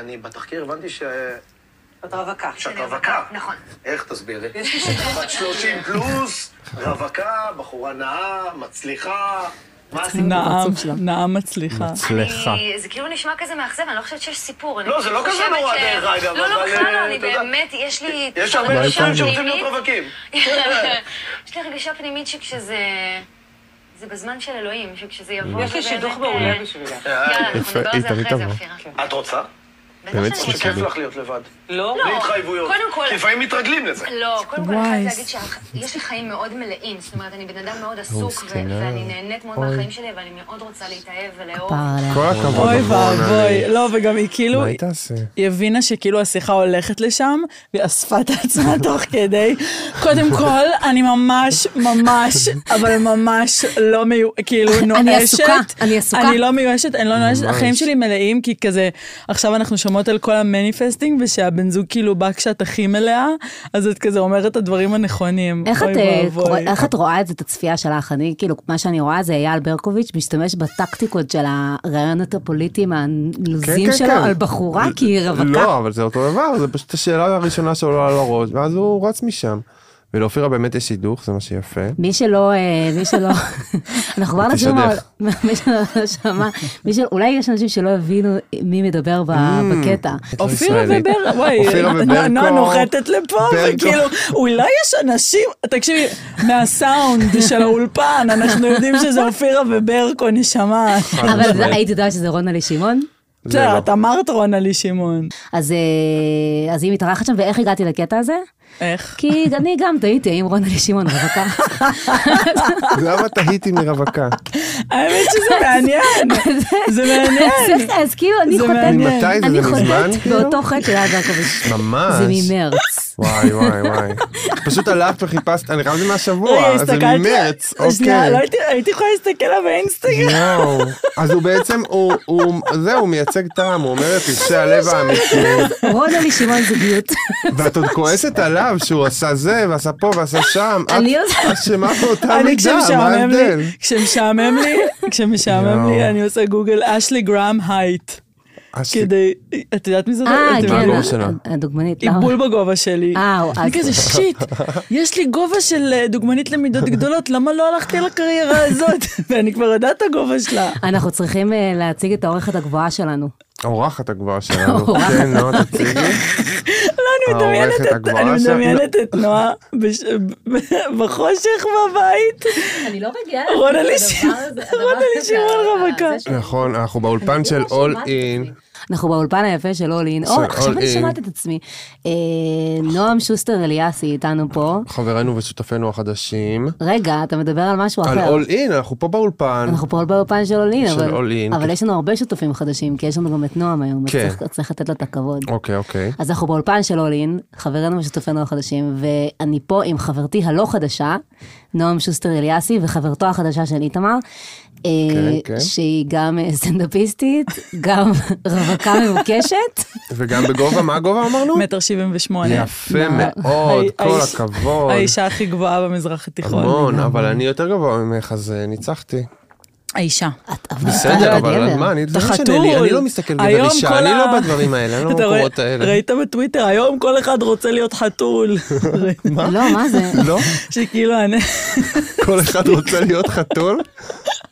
אני בתחקיר הבנתי ש... את רווקה. שאת רווקה. נכון. איך תסבירי? יש לי שאלה. בת 30 פלוס, רווקה, בחורה נאה, מצליחה. מה עשית? לא. נעם, הפרצוף שלה. נעם מצליחה. אצלך. אני- זה כאילו נשמע כזה מאכזב, אני לא חושבת שיש סיפור. אני לא, זה לא חושבת כזה נורא, ש- דרך אגב, לא, לא, אבל, בכלל אה, לא, אני אתה יודע, באמת, יש לי... יש הרבה לא אנשים הבנתי. שרוצים להיות פנימית. רווקים. יש לי הרגשה פנימית שכשזה... זה בזמן של אלוהים, שכשזה יבוא... יש לי זה שידוך באמת, מעולה אה, בשבילך. יאללה, יפה, אנחנו נדבר על זה אחרי היא תמיד זה, טובה. אופירה. את רוצה? בטח באמת שאני סליחה. רוצה. שכיף לך להיות לבד. לא? בלי התחייבויות. קודם כל- כי לפעמים מתרגלים לזה. לא, קודם כל וואי, אני חייבת איזה- להגיד שיש לי חיים מאוד מלאים, זאת אומרת, אני בן אדם מאוד עסוק, ו- מסכנה. ואני נהנית מאוד אוי. מהחיים שלי, ואני מאוד רוצה להתאהב ולאהוב. פער עליה. כל הכבוד, אוי אורנה, ואבוי. אני- לא, וגם היא כאילו, מה היא תעשה? כן, היא הבינה שכאילו השיחה הולכת לשם, והיא אספה את עצמה תוך כדי. קודם כל, אני ממש, ממש, אבל ממש לא מיו... כאילו נואשת. אני עסוקה, אני עסוקה. אני לא מיואשת, אני לא נואשת. החיים שלי מלאים, כי כזה, עכשיו אנחנו שומעות על כל המניפסטינג, ושהבן זוג כאילו בא כשאת הכי מלאה, אז את כזה אומרת את הדברים הנכונים. איך אוי את, אה, ואבוי. קורא- איך את רואה את זה, את הצפייה שלך? אני, כאילו, מה שאני רואה זה אייל ברקוביץ' משתמש בטקטיקות של הרעיונות הפוליטיים כן, הנלוזים שלו על בחורה, כי היא רווקה. לא, אבל כן, זה אותו דבר, זה פשוט השאלה הראשונה שעולה לו הראש, ואז הוא רץ משם. ולאופירה באמת יש הידוך, זה מה שיפה. מי שלא, אה, מי שלא, אנחנו כבר נשים, תשדך. מי שלא לא שמע, מי שלא, אולי יש אנשים שלא הבינו מי מדבר ב- Mm. בקטע. את לא אופירה ישראלית. וברקו, וואי, אופירה נועה- נועה וברקו, נוחתת לפה, ברקו. וכאילו, אולי יש אנשים, תקשיבי, מהסאונד של האולפן, אנחנו יודעים שזה אופירה וברקו, נשמה. אבל זה- היית יודעת שזה רונלי שמעון? זה לא. בסדר, את אמרת רונלי שמעון. אז אה, אז היא מתארחת שם, ואיך הגעתי לקטע הזה? איך? כי אני גם תהיתי האם רונלי שמעון רווקה. למה תהיתי מרווקה? האמת שזה מעניין, זה מעניין. אז- אז כאילו אני כן. זה חוטאת, מעניין. ממתי זה? אני זה מזמן? כאילו? חוטאת באותו חטא של אייל ברקוביץ'. ממש. זה ממרץ. וואי וואי וואי. פשוט הלכת וחיפשת, אני חייב זה מהשבוע, רגע, זה ממרץ, שנייה, אוקיי. לא הייתי- הייתי יכולה להסתכל לה לא באינסטגרם. יואו. אז הוא בעצם, הוא, הוא- זהו, הוא מייצג טעם, הוא אומר את פשעי הלב האמיתי, רונלי שמעון זוגיות. ואת עוד כועסת עליו שהוא עשה זה, ועשה פה, ועשה שם. את אני עושה- אשמה באותה אני מידה, מה כשמשעמם ההבדל? לי, כשמשעמם לי, כשמשעמם לי, יואו. אני עושה גוגל אשלי גרם הייט. אשלי- כדי, את יודעת מי זאת? אה, אתם- מה כן, הגובה שלה? הדוגמנית. היא למה? בול בגובה שלי. אה, או, אני אז- כזה שיט, יש לי גובה של אה, דוגמנית למידות גדולות, למה לא הלכתי לקריירה הזאת? ואני כבר יודעת את הגובה שלה. אנחנו צריכים אה, להציג את העורכת הגבוהה שלנו. האורחת הגבוהה שלנו, כן, נועה תציגי. לא, אני מדמיינת העורכת את- הגבוהה אני שם- מדמיינת את נועה בש- ב- בחושך בבית. אני לא רגיעה. רונה לדבר לישי- הזה, הדבר רונה הזה, לישימון ה- רווקה. הזה נכון, אנחנו באולפן של אול אין. אנחנו באולפן היפה של אול אין. או, של עכשיו All אני In. שומעת את עצמי. אה, נועם שוסטר אליאסי איתנו פה. חברינו ושותפינו החדשים. רגע, אתה מדבר על משהו אוקיי. על אחר. אול אין, אנחנו פה באולפן. אנחנו פה באולפן של אול אין, של אבל- All In, אבל כן. יש לנו הרבה שותפים חדשים, כי יש לנו גם את נועם היום, אז כן. צריך- אז צריך לתת לו את הכבוד. אוקיי, אוקיי. אז אנחנו באולפן של אולין, חברינו ושותפינו החדשים, ואני פה עם חברתי הלא חדשה, נועם שוסטר אליאסי, וחברתו החדשה של איתמר, אה, כן, כן. שהיא גם אה, סטנדאפיסטית, גם רווקה מבוקשת. וגם בגובה, מה הגובה אמרנו? מטר שבעים ושמונה. יפה נועה. מאוד, האיש- כל הכבוד. האישה נכון. הכי גבוהה במזרח התיכון. המון, אבל אני יותר גבוה ממך, אז אה, ניצחתי. האישה. את- אבל- בסדר, אתה אבל גבר. מה, אני אתה לא משנה חתול. לי, אני לא מסתכל בגלל היום אישה, כל אני ה- לא בדברים האלה, אני לא אתה רואה- במקומות האלה. ראית בטוויטר, היום כל אחד רוצה להיות חתול. לא, מה זה? לא? שכאילו, אני- כל אחד רוצה להיות חתול?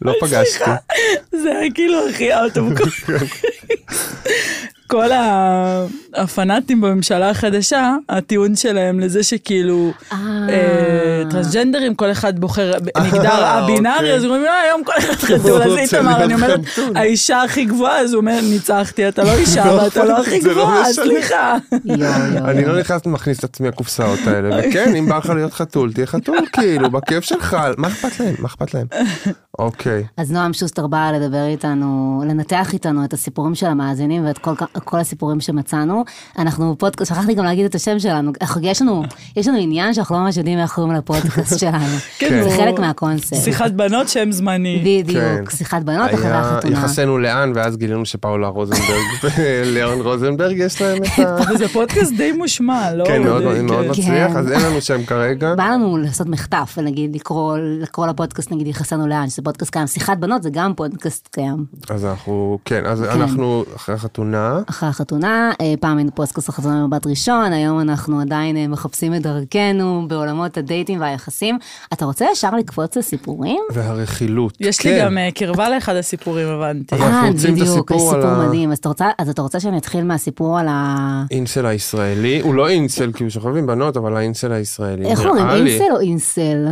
לא פגשתי. זה היה כאילו הכי out of context. כל ה- הפנאטים בממשלה החדשה, הטיעון שלהם לזה שכאילו אה, טרנסג'נדרים, כל אחד בוחר מגדר אה, הבינארי, אוקיי. אז אומרים, "אה, היום כל אחד חתול, אז רוצה איתמר, להיות אני אומרת, חתול. האישה הכי גבוהה, אז הוא אומר, ניצחתי, אתה לא אישה, ואתה לא הכי זה לא גבוהה, משנה. סליחה. יואו, יואו. אני לא נכנס מכניס את עצמי לקופסאות האלה, וכן, אם בא לך להיות חתול, תהיה חתול, כאילו, בכיף שלך, מה אכפת להם? מה אכפת להם? אוקיי. אז נועם שוסטר באה לדבר איתנו, לנתח איתנו את הסיפורים של המאזינים ואת כל, כ- כל הסיפורים שמצאנו. אנחנו פודקאסט, שכחתי גם להגיד את השם שלנו, אנחנו- יש לנו, יש לנו עניין שאנחנו לא ממש יודעים איך קוראים לפודקאסט שלנו. כן, זה הוא- חלק מהקונספט. שיחת בנות שם זמני. בדיוק, כן. שיחת בנות אחרי היה החתונה. יחסנו לאן, ואז גילינו שפאולה רוזנברג וליאון רוזנברג יש להם את ה... וזה פודקאסט די מושמע, לא? כן, מאוד זה- מאוד כן. מצליח, אז אין לנו שם כרגע. בא לנו לעשות מחטף, ונגיד לקרוא, לקרוא לפודקאסט, נגיד יחסנו לאן, שזה פודקאסט קיים. שיחת בנות זה גם פודקאסט קיים. אז אנחנו, כן, אז אנחנו אחרי החתונה, אחרי החתונה, אה, פעם היינו פודקאסט החתונה במבט ראשון, היום אנחנו עדיין אה, מחפשים את דרכנו בעולמות הדייטים והיחסים. אתה רוצה ישר לקפוץ לסיפורים? והרכילות. יש לי כן. גם אה, קרבה לאחד הסיפורים, הבנתי. אז אנחנו אה, רוצים את בדיוק, יש הסיפור על סיפור ה- מדהים. אז אתה רוצה- אז אתה רוצה שאני אתחיל מהסיפור על ה... אינסל הישראלי, הוא לא אינסל, כי הוא שוכב עם בנות, אבל האינסל הישראלי. איך נראה אומרים, לי. אינסל או אינסל?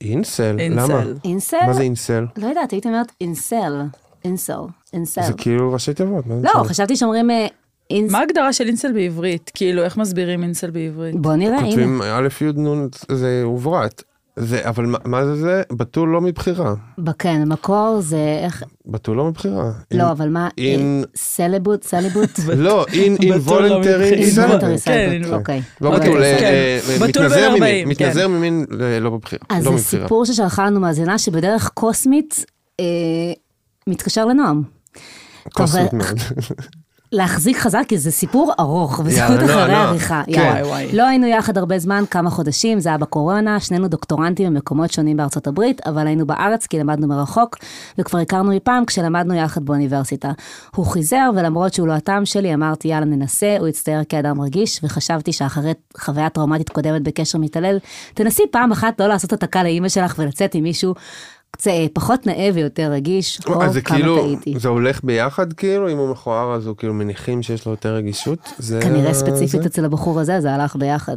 אינסל, אינסל. למה? אינסל? מה זה אינסל? לא יודעת, הייתי אומרת אינסל. אינסל. אינסל. זה כאילו ראשי תיבות, מה זה אה. לא, משנה? חשבתי שאומרים אה, אינס... מה ההגדרה של אינסל בעברית? כאילו, איך מסבירים אינסל בעברית? בוא נראה, הנה. כותבים א', י', נ', זה עוברת. זה, אבל מה- מה זה זה? בתול לא מבחירה. ב- כן, המקור זה איך... בתול לא מבחירה. לא, אבל מה? אין- אה, סלבוט? סליבוט? לא, אין בתול לא מבחירה. אינבולנטרי Involuntary סלבט. כן, אוקיי. celibate, לא אוקיי. לא אוקיי, בתול, אה, כן. אה, בתול מתנזר בין ממין, 40, מתנזר כן. ממין אה, לא בבחירה, אז לא זה מבחירה. סיפור ששלחה לנו מאזינה שבדרך קוסמית אה, מתקשר לנועם. כוסות טוב, מאוד. להחזיק חזק, כי זה סיפור ארוך, יאללה, בזכות נועה, אחרי נועה. העריכה. כן. יאללה. וואי, וואי. לא היינו יחד הרבה זמן, כמה חודשים, זה היה בקורונה, שנינו דוקטורנטים במקומות שונים בארצות הברית, אבל היינו בארץ כי למדנו מרחוק, וכבר הכרנו מפעם כשלמדנו יחד באוניברסיטה. הוא חיזר, ולמרות שהוא לא הטעם שלי, אמרתי יאללה ננסה, הוא הצטייר כאדם רגיש, וחשבתי שאחרי חוויה טראומטית קודמת בקשר מתעלל, תנסי פעם אחת לא לעשות התקה לאימא שלך ולצאת עם מישהו. קצת פחות נאה ויותר רגיש, או אז זה כמה כאילו, טעיתי. זה הולך ביחד כאילו, אם הוא מכוער אז הוא כאילו מניחים שיש לו יותר רגישות? זה- כנראה ספציפית אה, זה? אצל הבחור הזה, זה הלך ביחד.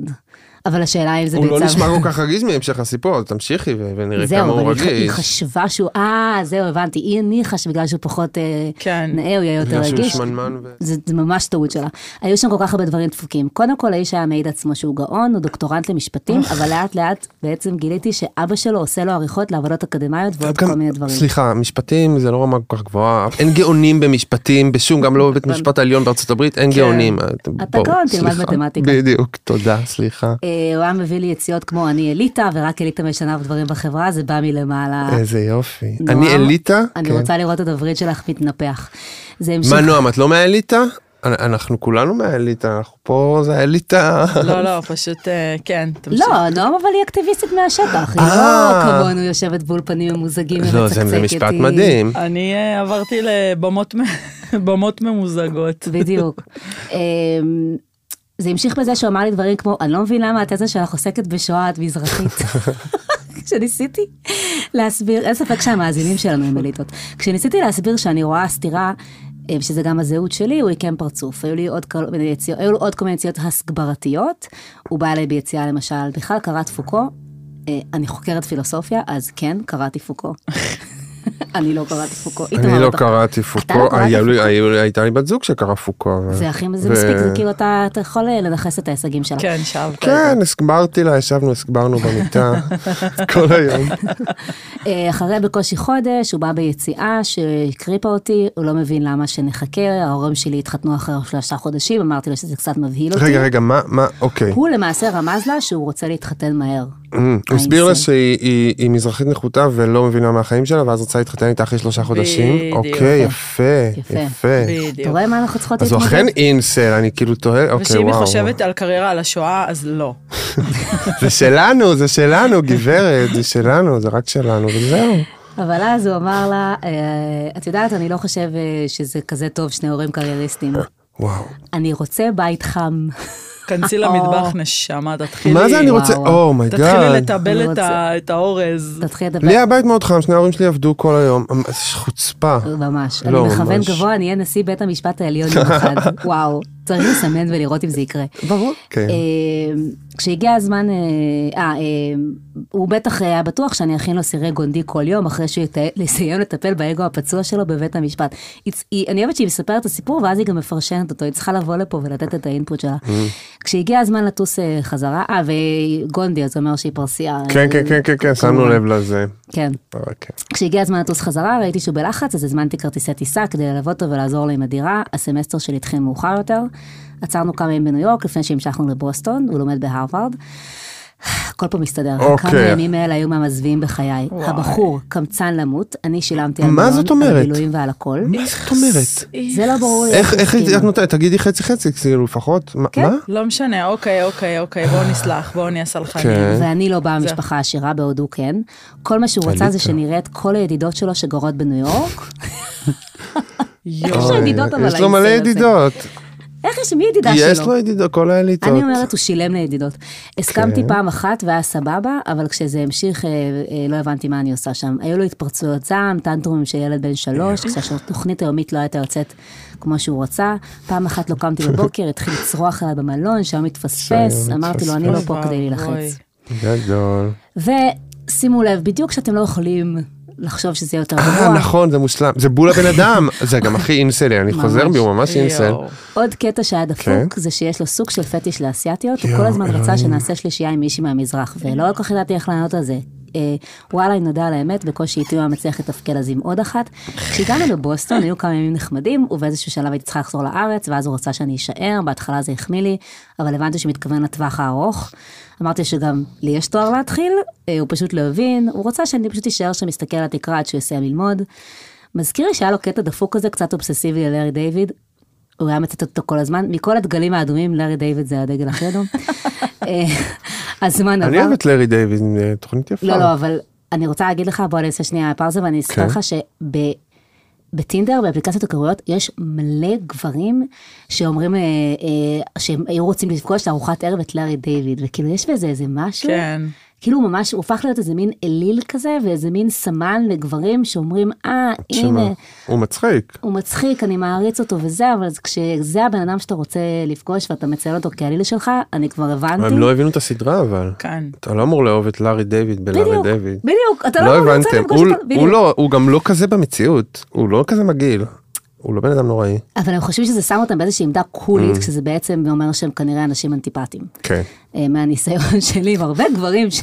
אבל השאלה אם זה הוא ביצה... לא נשמע ו- כל כך רגיש מהמשך הסיפור, אז תמשיכי ו- ונראה זהו, כמה הוא אבל היא- היא רגיש. חשבה שהוא, אה, זהו, הבנתי, היא הניחה שבגלל שהוא פחות אה, כן. נאה, הוא יהיה יותר בגלל שהוא רגיש. שמנמן ו- זה זה ממש טעות שלה. היו שם כל כך הרבה דברים דפוקים. קודם כל, האיש היה מעיד עצמו שהוא גאון, הוא דוקטורנט למשפטים, אבל לאט לאט בעצם גיליתי שאבא שלו עושה לו עריכות לעבודות אקדמיות ועוד גם- כל מיני דברים. סליחה, משפטים זה לא רמה כל כך גבוהה, אין גאונים במשפטים בשום, גם לא בבית משפט העליון בארצות הברית, אין גאונים. כן. אתה בואו, גאון, תלמד סליחה. מתמטיקה. בדיוק, תודה, סליחה. אה, הוא היה מביא לי יציאות כמו אני אליטה, ורק אליטה משנה דברים בחברה, זה בא מלמעלה. איזה יופי. אה, נועם, אני אליטה? אני כן. רוצה לראות את הווריד שלך מתנפח. זה המשך. מה נועם, את לא מהאליטה? אנ- אנחנו כולנו מהאליטה, אנחנו פה, זה האליטה. לא, לא, פשוט, אה, כן, תמשיך. לא, נועם אבל היא אקטיביסטית מהשטח, היא לא אה. כמונו יושבת באולפנים ממוזגים לא, זה- ומצקצקת. זה משפט היא- מדהים. אני אה, עברתי לבמות מ- במות ממוזגות. בדיוק. אמ, זה המשיך בזה שהוא אמר לי דברים כמו, אני לא מבין למה התזה שלך עוסקת בשואה, את מזרחית. כשניסיתי להסביר, אין ספק שהמאזינים שלנו הם אליטות. כשניסיתי להסביר שאני רואה סתירה, אה, שזה גם הזהות שלי, הוא הקים פרצוף. היו לי עוד כל מיני יציאות, היו לו עוד כל מיני יציאות הסגברתיות. הוא בא אליי ביציאה למשל, בכלל קראת פוקו, אה, אני חוקרת פילוסופיה, אז כן, קראתי פוקו. אני לא קראתי פוקו. איתמר, אני לא אתה- קראתי אתה לא פוקו, קראת היו לי- היו לי- הייתה לי בת זוג שקרא פוקו. אבל- זה הכי, זה ו- מספיק, זה כאילו אתה, אתה יכול לנכס את ההישגים שלה. כן, שאבת. כן, הסברתי לה, ישבנו, הסברנו במיטה כל היום. אוקיי. אה, אחרי בקושי חודש, הוא בא ביציאה שהקריפה אותי, הוא לא מבין למה שנחכה, ההורים שלי התחתנו אחרי שלושה חודשים, אמרתי לו שזה קצת מבהיל אותי. רגע, רגע, מה, מה, אוקיי. הוא למעשה רמז לה שהוא רוצה להתחתן מהר. אמ, הוא הסביר לה האינסל. שהיא היא- היא מזרחית נחותה ולא מבינה מהחיים שלה, ואז רצה להתחתן איתה אחרי שלושה חודשים. בדיוק. אוקיי, יפה, יפה. יפה. אתה בדיוק. רואה מה אנחנו צריכות אז הוא אכן אינסל, אני כאילו תוהה, אוקיי, ושאם היא וואו. חושבת על קריירה על השואה, אז לא. זה שלנו, זה שלנו, גברת, זה שלנו, זה רק שלנו, וזהו. אבל אז הוא אמר לה, אה, את יודעת, אני לא חושב אה, שזה כזה טוב, שני הורים קרייריסטים. וואו. אני רוצה בית חם. כנסי למטבח, אה. נשמה, תתחילי. מה זה אני רוצה? Oh וואו. תתחילי אומייגאד. לטבל אני את ה- את האורז. תתחיל לדבר. לי הבית מאוד חם, שני ההורים שלי עבדו כל היום. אמ, איזה חוצפה. ממש. לא, אני מכוון ממש. גבוה, אני אהיה נשיא בית המשפט העליון יום אחד. וואו, צריך לסמן ולראות אם זה יקרה. ברור. כן. כשהגיע הזמן, אה, אה, אה, הוא בטח היה בטוח שאני אכין לו סירי גונדי כל יום, אחרי שהוא ית- יסיים לטפל באגו הפצוע שלו בבית המשפט. היא- היא- אני אוהבת שהיא מספרת את הסיפור, ואז היא גם מפרשנת אותו, היא צריכה לבוא לפה ולתת את האינפוט שלה. Mm. כשהגיע הזמן לטוס אה, חזרה, אה, וגונדי, אז זה אומר שהיא פרסייה. אה, כן, כן, כן, כן, כן, שמנו לב לזה. כן. אבל כן. כשהגיע הזמן לטוס חזרה, ראיתי שהוא בלחץ, אז הזמנתי כרטיסי טיסה כדי ללוות אותו ולעזור לו עם הדירה. הסמסטר שלי התחיל מאוחר יותר. עצרנו כמה ימים בניו יורק לפני שהמשכנו לבוסטון, הוא לומד בהרווארד. הכל פה מסתדר. אוקיי. כמה ימים האלה היו מהמזוויעים בחיי. הבחור קמצן למות, אני שילמתי על מה מלון, זאת על אומרת? הבילויים ועל הכל. מה זאת אומרת? זה לא ברור לי. איך, איך, הסכימה. את נותנת, תגידי חצי חצי, כאילו לפחות, מה? כן, מה? לא משנה, אוקיי, אוקיי, אוקיי, בואו נסלח, בואו נהיה סלחנים. כן. ואני לא באה ממשפחה עשירה, בעוד הוא כן. כל מה שהוא רצה זה עלית. שנראה את כל הידידות שלו שגרות בניו יורק. איך יש יואו. לו ידידות אבל? אה, יש לו מלא לאינסטל הזה? ידידות. איך יש, מי ידידה שלו? יש לו ידידות, כל האליטות. אני אומרת, הוא שילם לידידות. הסכמתי פעם אחת והיה סבבה, אבל כשזה המשיך, אה, אה, לא הבנתי מה אני עושה שם. היו לו התפרצויות זעם, טנטרומים של ילד בן שלוש, כשהתוכנית היומית לא הייתה יוצאת כמו שהוא רצה. פעם אחת לא קמתי בבוקר, התחיל לצרוח עליי במלון, שהיום התפספס, שהיום אמרתי לו, אני לא פה אוי כדי ואבוי. להילחץ. גדול. ושימו לב, בדיוק כשאתם לא יכולים לחשוב שזה יהיה יותר אה, גרוע, נכון, זה מושלם. זה בול הבן אדם. זה גם הכי אינסלי, אני חוזר בי, הוא ממש אינסל. יואו. עוד קטע שהיה דפוק, כן. זה שיש לו סוג של פטיש לאסייתיות, הוא יואו, כל הזמן רצה אלוהים. שנעשה שלישייה עם מישהי מהמזרח, ולא כל כך ידעתי איך לענות על זה. אה, וואלה, היא נודעה על האמת, בקושי איתי הוא היה מצליח לתפקד אז עם עוד אחת. כשהגענו לבוסטון, היו כמה ימים נחמדים, ובאיזשהו שלב הייתי צריכה לחזור לארץ, ואז הוא רצה שאני אשאר, בהתחלה זה החמיא לי, אבל הבנתי שהוא מתכוון לטווח הארוך. אמרתי שגם לי יש תואר להתחיל, אה, הוא פשוט לא הבין, הוא רצה שאני פשוט אשאר שם, אסתכל על התקרה עד שהוא יסיים ללמוד. מזכיר לי שהיה לו קטע דפוק כזה, קצת אובססיבי על לארי דיוויד, הוא היה מצטט אותו כל הזמן, מכל הדגלים האדומים, לארי דיוויד זה הדגל הכי אדום. אה, הזמן אני עבר. אוהב את לארי דיוויד, אה, תוכנית יפה. לא, לא, אבל אני רוצה להגיד לך, בוא נעשה שנייה פאוזה, ואני אספר כן. לך שבטינדר, באפליקציות הכרויות, יש מלא גברים שאומרים אה, אה, שהם היו רוצים לפגוש לארוחת ערב את לארי דיוויד, וכאילו יש בזה איזה משהו. כן. כאילו הוא ממש, הוא הפך להיות איזה מין אליל כזה, ואיזה מין סמן לגברים שאומרים, אה, שמע, הנה, הוא מצחיק. הוא מצחיק, אני מעריץ אותו וזה, אבל כשזה הבן אדם שאתה רוצה לפגוש ואתה מציין אותו כעליל שלך, אני כבר הבנתי. הם לא הבינו את הסדרה אבל. כאן. אתה לא אמור לאהוב את לארי דיוויד בלארי כן. בדיוק, דיוויד. בדיוק, אתה לא לא רוצה הבנתם, לפגוש הוא- אותו, הוא בדיוק. לא, הוא גם לא כזה במציאות, הוא לא כזה מגעיל, הוא לא בן אדם נוראי. אבל הם חושבים שזה שם אותם באיזושהי עמדה Mm. קולית, כשזה בעצם אומר שהם כנראה אנשים אנטיפטיים. כן. אה, מהניסיון שלי, עם הרבה גברים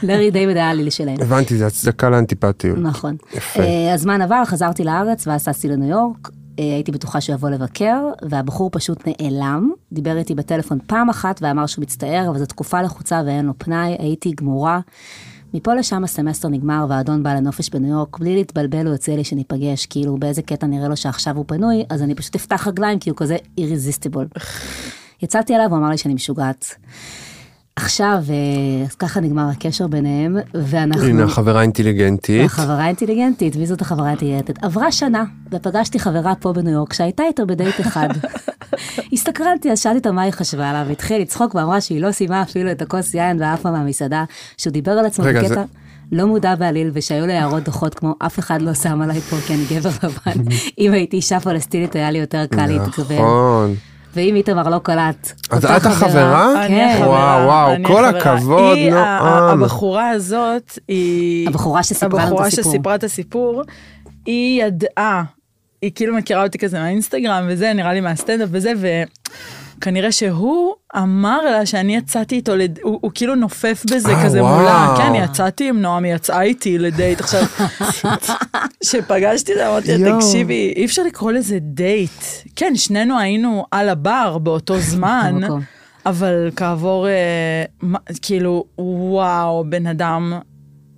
שלארי דיוויד היה העליל שלהם. הבנתי, זה הצדקה לאנטיפטיות. נכון. יפה. אה, הזמן עבר, חזרתי לארץ ואז טסתי לניו יורק. אה, הייתי בטוחה שהוא יבוא לבקר, והבחור פשוט נעלם. דיבר איתי בטלפון פעם אחת ואמר שהוא מצטער, אבל זו תקופה לחוצה ואין לו פנאי, הייתי גמורה. מפה לשם הסמסטר נגמר והאדון בא לנופש בניו יורק, בלי להתבלבל הוא יוצא לי שניפגש, כאילו באיזה קטע נראה לו שעכשיו הוא פנוי, אז אני פשוט אפתח רגליים כי הוא כזה אירזיסטיבול. יצאתי אליו, הוא אמר לי שאני משוגעת. עכשיו, אה, אז ככה נגמר הקשר ביניהם, ואנחנו... הנה החברה האינטליגנטית. החברה האינטליגנטית, מי זאת החברה האינטליגנטית? עברה שנה, ופגשתי חברה פה בניו יורק שהייתה איתו בדייט אחד. הסתקרנתי, אז שאלתי אותה מה היא חשבה עליו, והתחילה לצחוק ואמרה שהיא לא סיימה אפילו את הכוס יין ועפה מהמסעדה, שהוא דיבר על עצמו רגע, בקטע זה- לא מודע בעליל, ושהיו לי הערות דוחות כמו אף אחד לא שם עליי פה כי אני גבר לבן. אם הייתי אישה פלסטינית היה לי יותר קל להתגבר. נכון. ואם איתמר לא קלט, אז אותה את החברה? אני כן. החברה, וואו, וואו, אני כל החברה. הכבוד, אה. היא, ה- ה- נועם. הבחורה הזאת, היא... הבחורה שסיפרה לנו את הבחורה הסיפור. שסיפרה את הסיפור, היא ידעה, היא כאילו מכירה אותי כזה מהאינסטגרם וזה, נראה לי מהסטנדאפ וזה, וכנראה שהוא אמר לה שאני יצאתי איתו, לד... הוא, הוא כאילו נופף בזה אה, כזה וואו. מולה, כן, יצאתי עם נועם, היא יצאה איתי לדייט. עכשיו, כשפגשתי אותה, אמרתי לה, יואו. תקשיבי, אי אפשר לקרוא לזה דייט. כן, שנינו היינו על הבר באותו זמן. מקום. אבל כעבור, אה, מה- כאילו, וואו, בן אדם,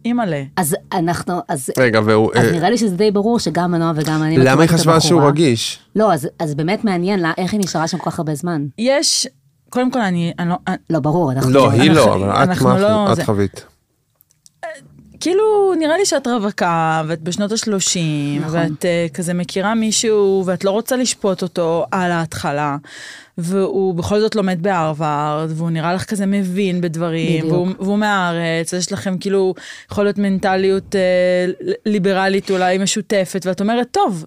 אימא'לה. אז אנחנו, אז... רגע, והוא... אז אה, נראה לי שזה די ברור שגם הנועם וגם אני מכירות למה היא את חשבה שהוא הבחורה. רגיש? לא, אז, אז באמת מעניין לה, איך היא נשארה שם כל כך הרבה זמן. יש, קודם כל, אני, אני לא, אני, לא, ברור, אנחנו... לא, היא לא, אנחנו- אבל את אנחנו מה- לא את זה. חווית. כאילו, נראה לי שאת רווקה, ואת בשנות ה-30, נכון. ואת uh, כזה מכירה מישהו, ואת לא רוצה לשפוט אותו על ההתחלה, והוא בכל זאת לומד בהרווארד, והוא נראה לך כזה מבין בדברים, בדיוק. והוא, והוא מהארץ, יש לכם כאילו, יכול להיות מנטליות uh, ליברלית אולי משותפת, ואת אומרת, טוב,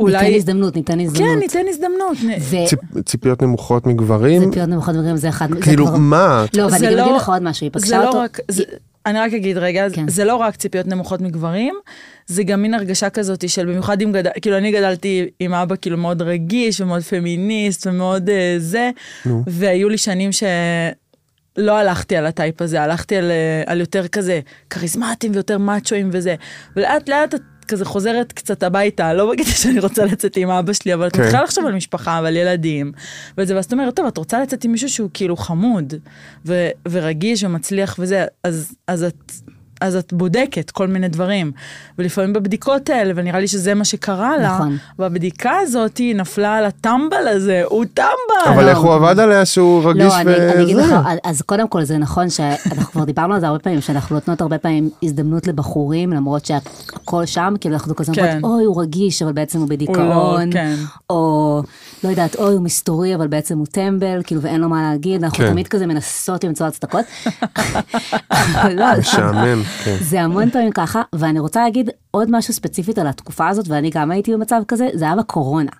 אולי... ניתן אולי... הזדמנות, ניתן הזדמנות. כן, ניתן הזדמנות. נ- ו... ציפ- ציפיות נמוכות מגברים? ציפיות נמוכות מגרים אה, זה אחד... זה כאילו, כבר- מה? לא, אבל זה אני גם אגיד לא- לך עוד משהו, היא זה פגשה לא אותו... רק, זה, אני רק אגיד רגע, כן. זה לא רק ציפיות נמוכות מגברים, זה גם מין הרגשה כזאת של במיוחד אם גדל, כאילו אני גדלתי עם אבא כאילו מאוד רגיש ומאוד פמיניסט ומאוד אה, זה, והיו לי שנים ש... לא הלכתי על הטייפ הזה, הלכתי על, אה, על יותר כזה כריזמטים ויותר מאצ'ואים וזה. ולאט לאט את כזה חוזרת קצת הביתה, לא בגלל שאני רוצה לצאת עם אבא שלי, אבל את כן. מתחילה לחשוב על משפחה ועל ילדים. וזה, ואז את אומרת, טוב, את רוצה לצאת עם מישהו שהוא כאילו חמוד, ו- ורגיש ומצליח וזה, אז, אז את אז את בודקת כל מיני דברים. ולפעמים בבדיקות האלה, ונראה לי שזה מה שקרה לה, נכון. והבדיקה הזאת היא נפלה על הטמבל הזה, הוא טמבל. אבל לא. איך הוא עבד עליה שהוא רגיש לא, אני, אני אגיד לך, אז קודם כל זה נכון שאנחנו כבר דיברנו על זה הרבה פעמים, שאנחנו נותנות הרבה פעמים הזדמנות לבחורים, למרות שהכל שם, כאילו אנחנו כזה כן. אומרות, אוי, הוא רגיש, אבל בעצם לא, הוא בדיכאון, כן. או לא יודעת, אוי, הוא מסתורי, אבל בעצם הוא טמבל, כאילו, ואין לו מה להגיד, אנחנו כן. תמיד כזה מנסות למצוא הצדקות. אבל לא, משעמם, כן. זה המון פעמים ככה, ואני רוצה להגיד עוד משהו ספציפית על התקופה הזאת, ואני גם הייתי במצב כזה, זה היה בקורונה.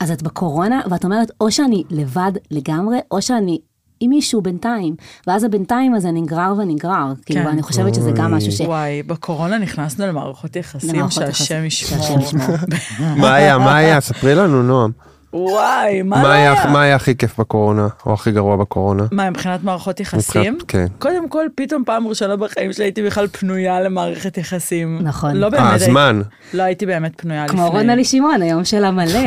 אז את בקורונה, ואת אומרת, או שאני לבד לגמרי, או שאני עם מישהו בינתיים, ואז הבינתיים הזה נגרר ונגרר. כאילו, כן. ואני חושבת שזה גם משהו ש... וואי, בקורונה נכנסנו למערכות יחסים, למערכות שהשם יחסים, ישמור. שהשם ישמור. מה היה, מה היה? ספרי לנו, נועם. וואי, מה לא מה היה- היה? לא מה היה הכי כיף בקורונה, או הכי גרוע בקורונה? מה, מבחינת מערכות יחסים? מבחינת- כן. קודם כל, פתאום פעם ראשונה בחיים שלי הייתי בכלל פנויה למערכת יחסים. נכון. לא אה, באמת אה, הייתי- הזמן. לא הייתי באמת פנויה לפני. כמו רונלי שמעון, היום שלה מלא.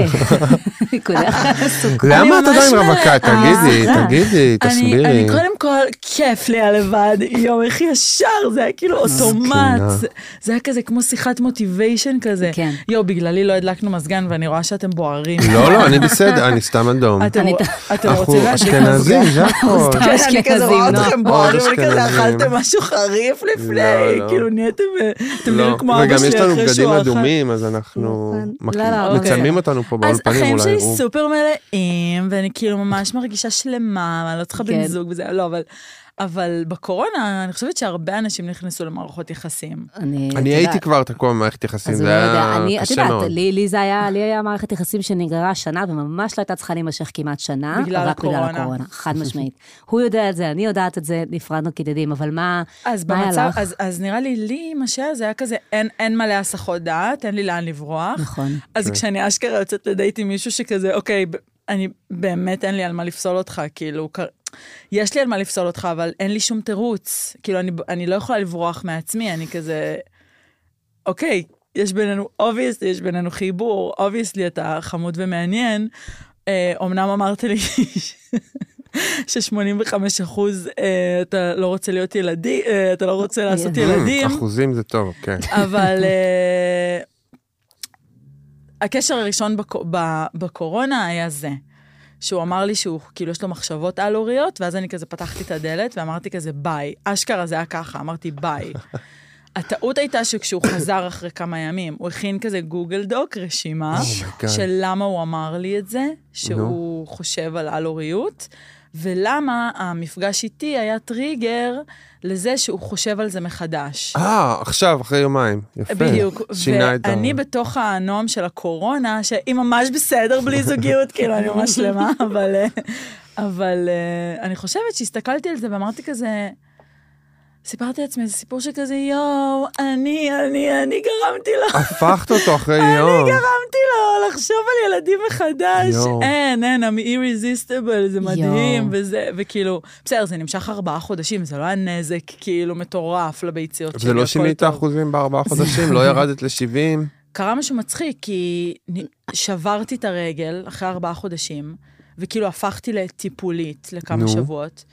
נקודה חסוקה. למה את ממש עדיין מלא- רווקה? תגידי, אה, תגידי, אני, תסבירי. אני קודם כל, כיף לי הלבד, יום איך ישר, זה היה כאילו אוטומט, זקנה. זה- זה היה כזה כמו שיחת מוטיביישן כזה. כן. יואו, בגללי לא הדלקנו מזגן ואני רואה שאתם בוערים. לא, לא, אני בסדר, אני סתם אדום. אתם אני- אתם אנחנו רוצים להדליק אשכנזים, מזגן? זה הכל. סתם. כן, אני כזה רואה אשכנזים, אתכם לא. בוערים, אני אשכנזים. כזה אכלתם משהו חריף לפני, לא, לא. כאילו נהייתם, אתם לא, נראים כמו אבא וגם שלי אחרי יש שהוא אכל. לנו בגדים אדומים, אז אנחנו נכון. מק- לא, לא, אבל- מצלמים אותנו פה אז באולפנים, החיים אולי שלי יראו. סופר מלאים, ואני כאילו ממש מרגישה שלמה, אני לא צריכה בן כן. זוג וזה, לא, אבל... אבל בקורונה, אני חושבת שהרבה אנשים נכנסו למערכות יחסים. אני את אני יודעת. הייתי כבר תקוע במערכת יחסים, אז זה הוא לא יודע, היה אני, את קשה יודעת, מאוד. לי, לי זה היה, לי היה מערכת יחסים שנגררה שנה, וממש לא הייתה צריכה להימשך כמעט שנה, בגלל רק בגלל הקורונה. הקורונה, חד משמעית. הוא יודע את זה, אני יודעת את זה, נפרדנו כידידים, אבל מה, אז מה היה במצב, לך? אז, אז נראה לי, לי, מה שהיה, זה היה כזה, אין, אין מלא הסחות דעת, אין לי לאן לברוח. נכון. אז כשאני אשכרה יוצאת לדייט עם מישהו שכזה, אוקיי, ב- אני באמת אין לי על מה לפסול אותך, כאילו, כ- יש לי על מה לפסול אותך, אבל אין לי שום תירוץ. כאילו, אני, אני לא יכולה לברוח מעצמי, אני כזה, אוקיי, יש בינינו, אובייסלי, יש בינינו חיבור, אובייסלי אתה חמוד ומעניין. אה, אומנם אמרת לי ש-85 אחוז אתה לא רוצה להיות ילדי, אה, אתה לא רוצה לעשות אה, ילדים. Mm, אחוזים זה טוב, כן. אבל אה, הקשר הראשון בק- ב- בקורונה היה זה. שהוא אמר לי שהוא, כאילו, יש לו מחשבות על-הוריות, ואז אני כזה פתחתי את הדלת ואמרתי כזה, ביי. אשכרה זה היה ככה, אמרתי, ביי. הטעות הייתה שכשהוא חזר אחרי כמה ימים, הוא הכין כזה גוגל דוק, רשימה, אומייגאד. של למה הוא אמר לי את זה, שהוא חושב על על-הוריות, ולמה המפגש איתי היה טריגר לזה שהוא חושב על זה מחדש. אה, עכשיו, אחרי יומיים. יפה. בדיוק. שינה את ה... ואני בתוך הנועם של הקורונה, שהיא ממש בסדר בלי זוגיות, כאילו, אני ממש שלמה, אבל... אה, אבל אה, אני חושבת שהסתכלתי על זה ואמרתי כזה... סיפרתי לעצמי איזה סיפור שכזה, יואו, אני, אני, אני גרמתי לו, הפכת אותו אחרי יום. אני גרמתי לו לחשוב על ילדים מחדש. יואו. אין, אין, I'm irresistible, זה מדהים, יואו. וזה, וכאילו, בסדר, זה נמשך ארבעה חודשים, זה לא היה נזק, כאילו, מטורף לביציות שלי, זה לא הכל שינית טוב. אחוזים בארבעה חודשים, לא ירדת ל-70. קרה משהו מצחיק, כי נ- שברתי את הרגל אחרי ארבעה חודשים, וכאילו הפכתי לטיפולית לכמה נו. נו. שבועות,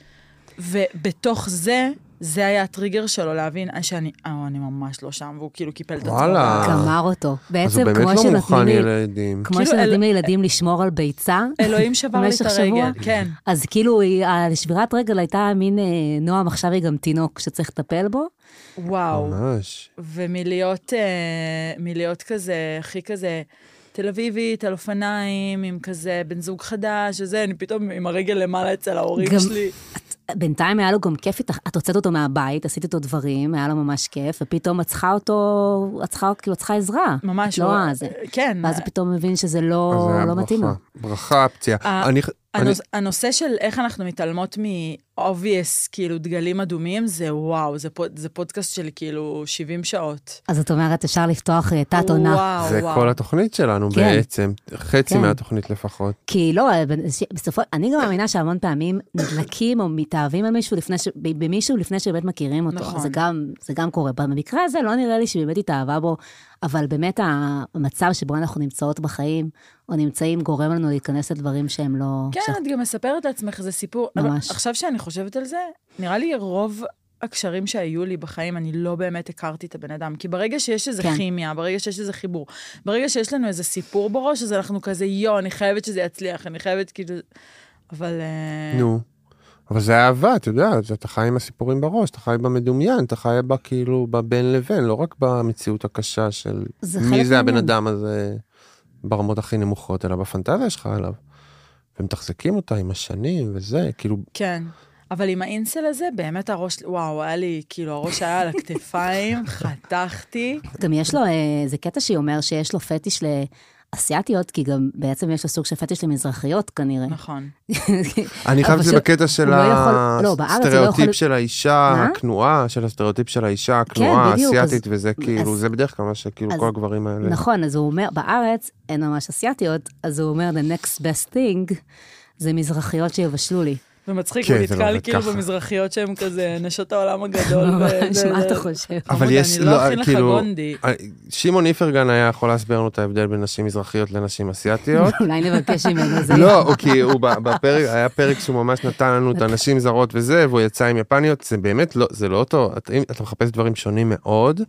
ובתוך זה, זה היה הטריגר שלו להבין אה, שאני, אה, אני ממש לא שם, והוא כאילו קיפל את עצמו. וואלה. גמר אותו. אה, אז הוא בעצם, באמת כמו לא שנותנים מוכן לי, ילדים. כמו כאילו, שנותנים אל- לילדים לשמור על ביצה, אלוהים שבר לי במשך את הרגל. שבוע? כן. אז כאילו, היא- השבירת רגל הייתה מין, אה, נועם עכשיו היא גם תינוק שצריך לטפל בו. וואו. אוקיי. ממש. ומלהיות אה, מלהיות כזה, הכי כזה, תל אביבית, על אופניים, עם כזה בן זוג חדש, וזה, אני פתאום עם הרגל למעלה אצל ההורים גם- שלי. בינתיים היה לו גם כיף איתך, את הוצאת אותו מהבית, עשית איתו דברים, היה לו ממש כיף, ופתאום את צריכה אותו, את צריכה, כאילו, את צריכה עזרה. ממש. את לא הוא- רואה זה. כן. ואז הוא פתאום מבין שזה אז לא, זה היה לא ברכה. מתאים לו. ברכה, פציעה. ה- אני- אני- הנוש... הנושא של איך אנחנו מתעלמות מ-obvious, כאילו, דגלים אדומים, זה וואו, זה, פוד... זה פודקאסט של כאילו 70 שעות. אז את אומרת, אפשר לפתוח אה, תת עונה. וואו, זה וואו. כל התוכנית שלנו כן. בעצם, חצי כן. מהתוכנית לפחות. כי לא, אה, בנ- ש- בסופו, אני גם מאמינה שהמון פעמים נדלקים או מתאהבים במישהו לפני, ש- ב- במישהו לפני שבאמת מכירים אותו. נכון. זה גם, זה גם קורה. במקרה הזה לא נראה לי שבאמת התאהבה בו, אבל באמת המצב שבו אנחנו נמצאות בחיים, או נמצאים, גורם לנו להיכנס לדברים שהם לא... כן, שאנחנו- את גם מספרת לעצמך איזה סיפור. אבל ממש. עכשיו שאני חושבת על זה, נראה לי רוב הקשרים שהיו לי בחיים, אני לא באמת הכרתי את הבן אדם. כי ברגע שיש איזה כן. כימיה, ברגע שיש איזה חיבור, ברגע שיש לנו איזה סיפור בראש, אז אנחנו כזה, יואו, אני חייבת שזה יצליח, אני חייבת כאילו... אבל... אה, נו. אבל זה אהבה, אתה יודע, זה- אתה חי עם הסיפורים בראש, אתה חי במדומיין, אתה חי בה כאילו בבין לבין, לא רק במציאות הקשה של זה מי חלק זה הבן מהעניין. אדם הזה ברמות הכי נמוכות, אלא בפנטזיה שלך עליו. ומתחזקים אותה עם השנים וזה, כאילו, כן. אבל עם האינסל הזה, באמת הראש, וואו, היה לי, כאילו, הראש היה על הכתפיים, חתכתי. גם יש לו אה, איזה קטע שהיא אומר שיש לו פטיש לאסיאתיות, כי גם בעצם יש לו סוג של פטיש למזרחיות כנראה. נכון. אני חייב אבל שזה ש- בקטע של אה, הוא לא יכול- לא, בארץ הוא לא הסטריאוטיפ יכול- של האישה מה? כן, הכנועה, של הסטריאוטיפ של האישה הכנועה בדיוק, האסייתית, אז- וזה כאילו, אז- זה בדרך כלל מה שכאילו אז- כל הגברים האלה. נכון, אז הוא אומר, בארץ אין ממש אסיאתיות, אז הוא אומר, the next best thing זה מזרחיות שיבשלו לי. ומצחיק, כן, הוא זה לא נתקע לי עובד כאילו ככה. במזרחיות שהן כזה נשות העולם לא, הגדול. ממש, וזה- מה אתה חושב? אבל חמודה, יש, אני לא אכין לך כאילו, גונדי. שמעון איפרגן היה יכול להסביר לנו את ההבדל בין נשים מזרחיות לנשים אסייתיות. אולי נבקש ממנו זה. נכון. לא, הוא כי הוא ב- בפרק, היה פרק שהוא ממש נתן לנו אוקיי. את הנשים זרות וזה, והוא יצא עם יפניות, זה באמת לא, זה לא אותו, אתה- אם- אתה מחפש דברים שונים מאוד,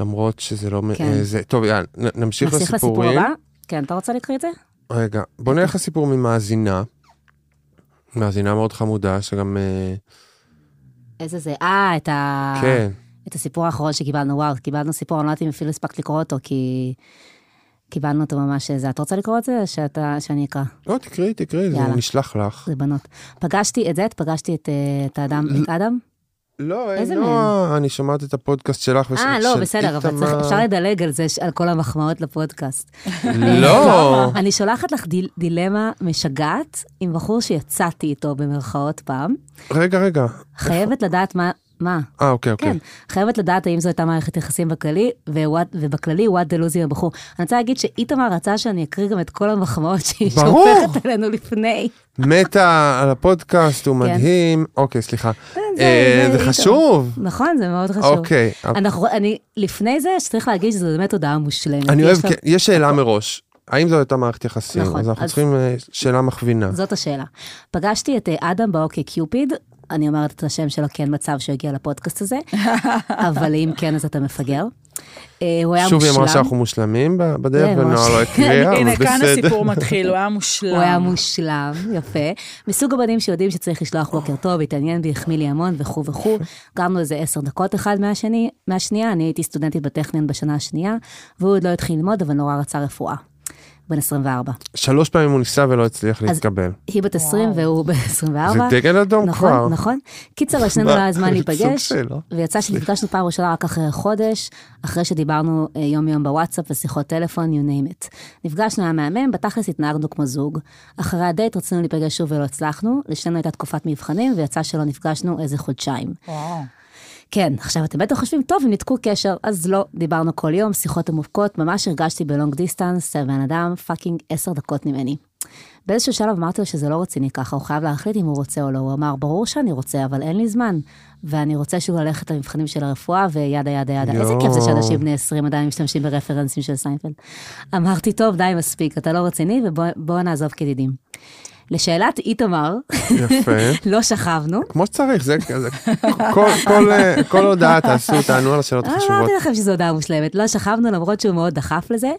למרות שזה לא, מ- כן. אה, זה, טוב, יאללה, נ- נמשיך נמשיך לסיפור לסיפורים. הבא? כן, אתה רוצה לקרוא את זה? רגע, בוא נלך לסיפור ממאזינה. מאזינה מאוד חמודה, שגם, אה, איזה זה? אה, את ה... כן, את הסיפור האחרון שקיבלנו, וואו, קיבלנו סיפור, אני לא יודעת אם אפילו הספקת לקרוא אותו, כי קיבלנו אותו ממש אה, זה. את רוצה לקרוא את זה, או שאתה, שאני אקרא? לא, תקראי, תקראי, זה יאללה. נשלח לך. זה בנות. פגשתי את זה, את פגשתי את, אה, את האדם, את אדם? לא, אין, איזה נועה, אני שומעת את הפודקאסט שלך ושל אה, לא, של בסדר, אבל צריך, איתמר. אפשר לדלג על זה, ש- על כל המחמאות לפודקאסט. לא, אני שולחת לך דיל, דילמה משגעת עם בחור שיצאתי איתו במרכאות פעם. רגע, רגע. חייבת לדעת מה, מה? אה, אוקיי, אוקיי. כן, חייבת לדעת האם זו הייתה מערכת יחסים בכללי, ו- ובכללי, what the lose עם הבחור. אני רוצה להגיד שאיתמר רצה שאני אקריא גם את כל המחמאות שהיא ברור. שופכת עלינו לפני. מתה על הפודקאסט, הוא כן. מדהים. אוקיי, סליחה. זה- אה, זה זה איתו. חשוב. נכון, זה מאוד חשוב. אוקיי. אנחנו, אני, לפני זה, שצריך להגיד שזו באמת הודעה מושלמת. אני יש אוהב, לה- כן, יש שאלה מראש. האם זו הייתה מערכת יחסים? נכון, אז אנחנו אז- צריכים אה, שאלה מכווינה. זאת השאלה. פגשתי את אה, אדם באוקיי קיופיד, אני אומרת את השם שלו כי אין מצב שהוא יגיע לפודקאסט הזה, אבל אם כן, אז אתה מפגר. אה, הוא היה שוב היא אמרה מושלם. שאנחנו מושלמים ב- בדרך, כן, ונועה ממש. לא הקריאה, אבל הנה, כאן בסדר. הסיפור מתחיל, הוא היה מושלם. הוא היה מושלם, יפה. מסוג הבנים שיודעים שצריך לשלוח בוקר טוב, התעניין בי, החמיא לי המון וכו' וכו'. גרנו איזה עשר דקות אחד מהשני, מהשנייה, אני הייתי סטודנטית בטכניון בשנה השנייה, והוא עוד לא התחיל ללמוד, אבל נורא רצה רפואה. בן 24. שלוש פעמים הוא ניסה ולא הצליח להתקבל. היא בת 20 והוא בן 24. זה דגל אדום נכון, כבר. נכון. קיצר, לשנינו מה? לא היה זמן סוג להיפגש, של, לא? ויצא שנפגשנו פעם ראשונה רק אחרי חודש, אחרי שדיברנו אה, יום-יום בוואטסאפ ושיחות טלפון, you name it. נפגשנו, היה מהמם, בתכלס התנהגנו כמו זוג. אחרי הדייט רצינו להיפגש שוב ולא הצלחנו, לשנינו הייתה תקופת מבחנים, ויצא שלא נפגשנו איזה חודשיים. וואו. כן, עכשיו אתם בטח חושבים, טוב, הם ניתקו קשר, אז לא, דיברנו כל יום, שיחות עמוקות, ממש הרגשתי בלונג דיסטנס, הבן אדם פאקינג עשר דקות ממני. באיזשהו שלב אמרתי לו שזה לא רציני ככה, הוא חייב להחליט אם הוא רוצה או לא. הוא אמר, ברור שאני רוצה, אבל אין לי זמן, ואני רוצה שהוא ילך למבחנים של הרפואה, וידה ידה ידה. איזה כיף זה יואו. שאנשים בני 20 עדיין משתמשים ברפרנסים של סיינפלד. אמרתי, טוב, די, מספיק, אתה לא רציני, ובוא נעזוב כידידים. לשאלת איתמר, יפה. לא שכבנו, כמו שצריך, זה כזה, כל- כל, אה, כל הודעה תעשו, תענו על השאלות החשובות. אמרתי לכם שזו הודעה מושלמת. לא שכבנו, למרות שהוא מאוד דחף לזה.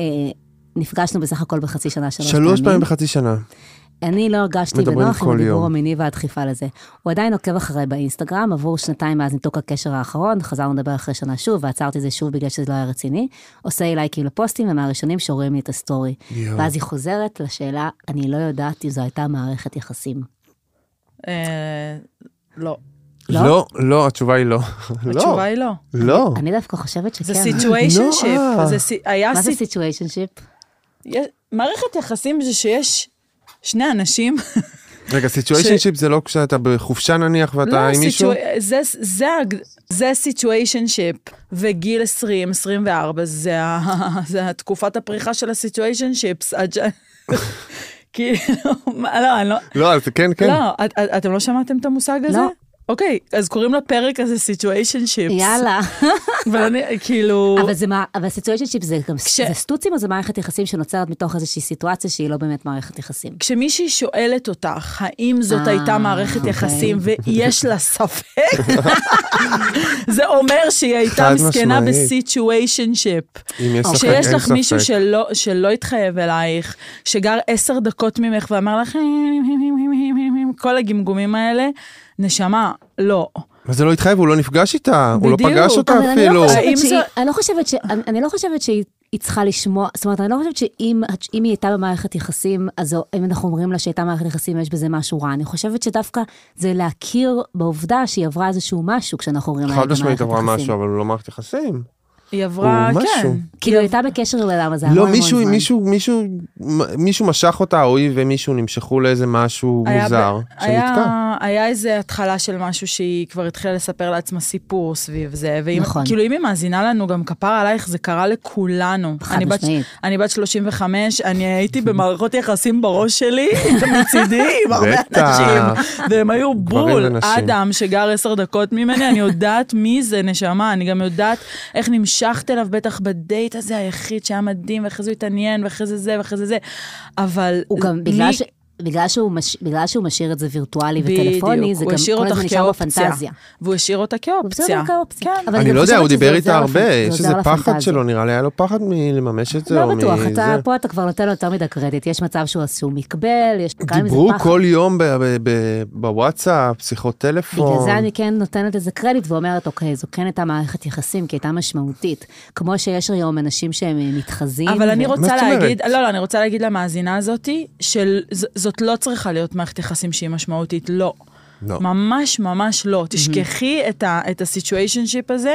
אה, נפגשנו בסך הכל בחצי שנה שלוש פעמים. שלוש פעמים בחצי שנה. אני לא הרגשתי מדברים בנוח עם כל יום. הדיבור המיני והדחיפה לזה. הוא עדיין עוקב אחריי באינסטגרם, עבור שנתיים מאז ניתוק הקשר האחרון, חזרנו לדבר אחרי שנה שוב, ועצרתי את זה שוב בגלל שזה לא היה רציני. עושה לייקים לפוסטים, ומהראשונים שרואים לי את הסטורי. יואו. ואז היא חוזרת לשאלה, אני לא יודעת אם זו הייתה מערכת יחסים. אה, לא. לא? לא, לא, התשובה היא לא. לא, התשובה היא לא. לא. אני דווקא חושבת שכן. זה סיטואשנשיפ. נועה. זה סי- היה כן. מה זה סיט- סיטואשנשיפ? יש- מערכת יחסים זה שיש שני אנשים. רגע, סיטואשנשיפ זה לא כשאתה בחופשה נניח לא, ואתה לא, עם מישהו? סיטואש- זה- זה הג- זה סיטואשנשיפ, וגיל 20, 24, זה ה- זה התקופת הפריחה של הסיטואשנשיפס. עד ש... כאילו, מה- לא, אני לא... לא, אז כן, כן. לא, את- את- אתם לא שמעתם את המושג הזה? לא. אוקיי, אז קוראים לפרק הזה situationship. יאללה. אבל אני, כאילו... אבל זה מה, אבל סיטואציה שיפ זה גם, כש- זה סטוצים או זה מערכת יחסים שנוצרת מתוך איזושהי סיטואציה שהיא לא באמת מערכת יחסים? כשמישהי שואלת אותך, האם זאת אה, הייתה מערכת אוקיי. יחסים ויש לה ספק, זה אומר שהיא הייתה חד מסכנה משמעית. בסיטואשנשיפ. אם יש ספק, כשיש אין לך מישהו ספק. שלא, שלא התחייב אלייך, שגר עשר דקות ממך ואמר לך, כל הגמגומים האלה, נשמה, לא. מה זה לא התחייב? הוא לא נפגש איתה, הוא לא בדיוק. פגש אותה אבל אני אפילו. לא האם חושבת זה- שהיא, אני לא חושבת ש... אני- אני לא חושבת שהיא... היא צריכה לשמוע, זאת אומרת, אני לא חושבת שאם את- אם היא הייתה במערכת יחסים, אז אם אנחנו אומרים לה שהייתה במערכת יחסים, יש בזה משהו רע. אני חושבת שדווקא זה להכיר בעובדה שהיא עברה איזשהו משהו כשאנחנו אומרים לה חד הייתה במערכת משמעית יחסים. עברה משהו, אבל הוא לא מערכת יחסים. היא עברה, או כן. משהו. כאילו, היא הייתה בקשר ללמה זה המון לא, המון מישהו, זמן. מישהו, מישהו, מ- מישהו משך אותה, או היא ומישהו נמשכו לאיזה משהו היה מוזר, ב- שנתקע. היה, היה איזה התחלה של משהו שהיא כבר התחילה לספר לעצמה סיפור סביב זה, ואם, נכון. כאילו אם היא מאזינה לנו, גם כפר עלייך, זה קרה לכולנו. חד אני בת- משמעית. אני בת 35, אני הייתי במערכות יחסים בראש שלי, מצידי, עם הרבה בטח. אנשים, והם היו גברים בול. ונשים. אדם שגר עשר דקות ממני, אני יודעת מי זה, נשמה, אני גם יודעת איך נמשכת אליו, בטח בדייט הזה היחיד שהיה מדהים, ואחרי זה הוא התעניין, ואחרי זה זה, ואחרי זה זה, אבל... הוא גם, מי- בגלל, ש... בגלל, שהוא מש... בגלל שהוא משאיר את זה וירטואלי וטלפוני, זה הוא גם השאיר כל אותך הזמן נשאר כאופציה. בפנטזיה. והוא השאיר אותה הוא כאופציה. בסדר כאופציה. כן. אבל אני גם לא יודע, חושבת הוא שזה דיבר עוזר איתה לפנ- הרבה, זה יש עוזר איזה פחד לפנטזיה. שלו, נראה לי היה לו פחד מלממש את זה, לא או בטוח, אתה, מזה. פה אתה כבר נותן לו יותר מדי קרדיט. יש מצב שהוא עשו מקבל, יש גם איזה דיברו פחד. כל יום ב- ב- ב- בוואטסאפ, שיחות טלפון. בגלל זה אני כן נותנת לזה קרדיט ואומרת, אוקיי, זו כן הייתה מערכת יחסים, כי הייתה משמעותית. כמו שיש היום אנשים שהם אה, מתחזים. אבל אני ו- מה רוצה זאת אומרת? להגיד, לא, לא, אני רוצה להגיד למאזינה הזאתי, שזאת לא צריכה להיות מערכת יחסים שהיא משמעותית, לא. לא. Mhm. ממש ממש לא. תשכחי את ה- את ה-situationship הזה,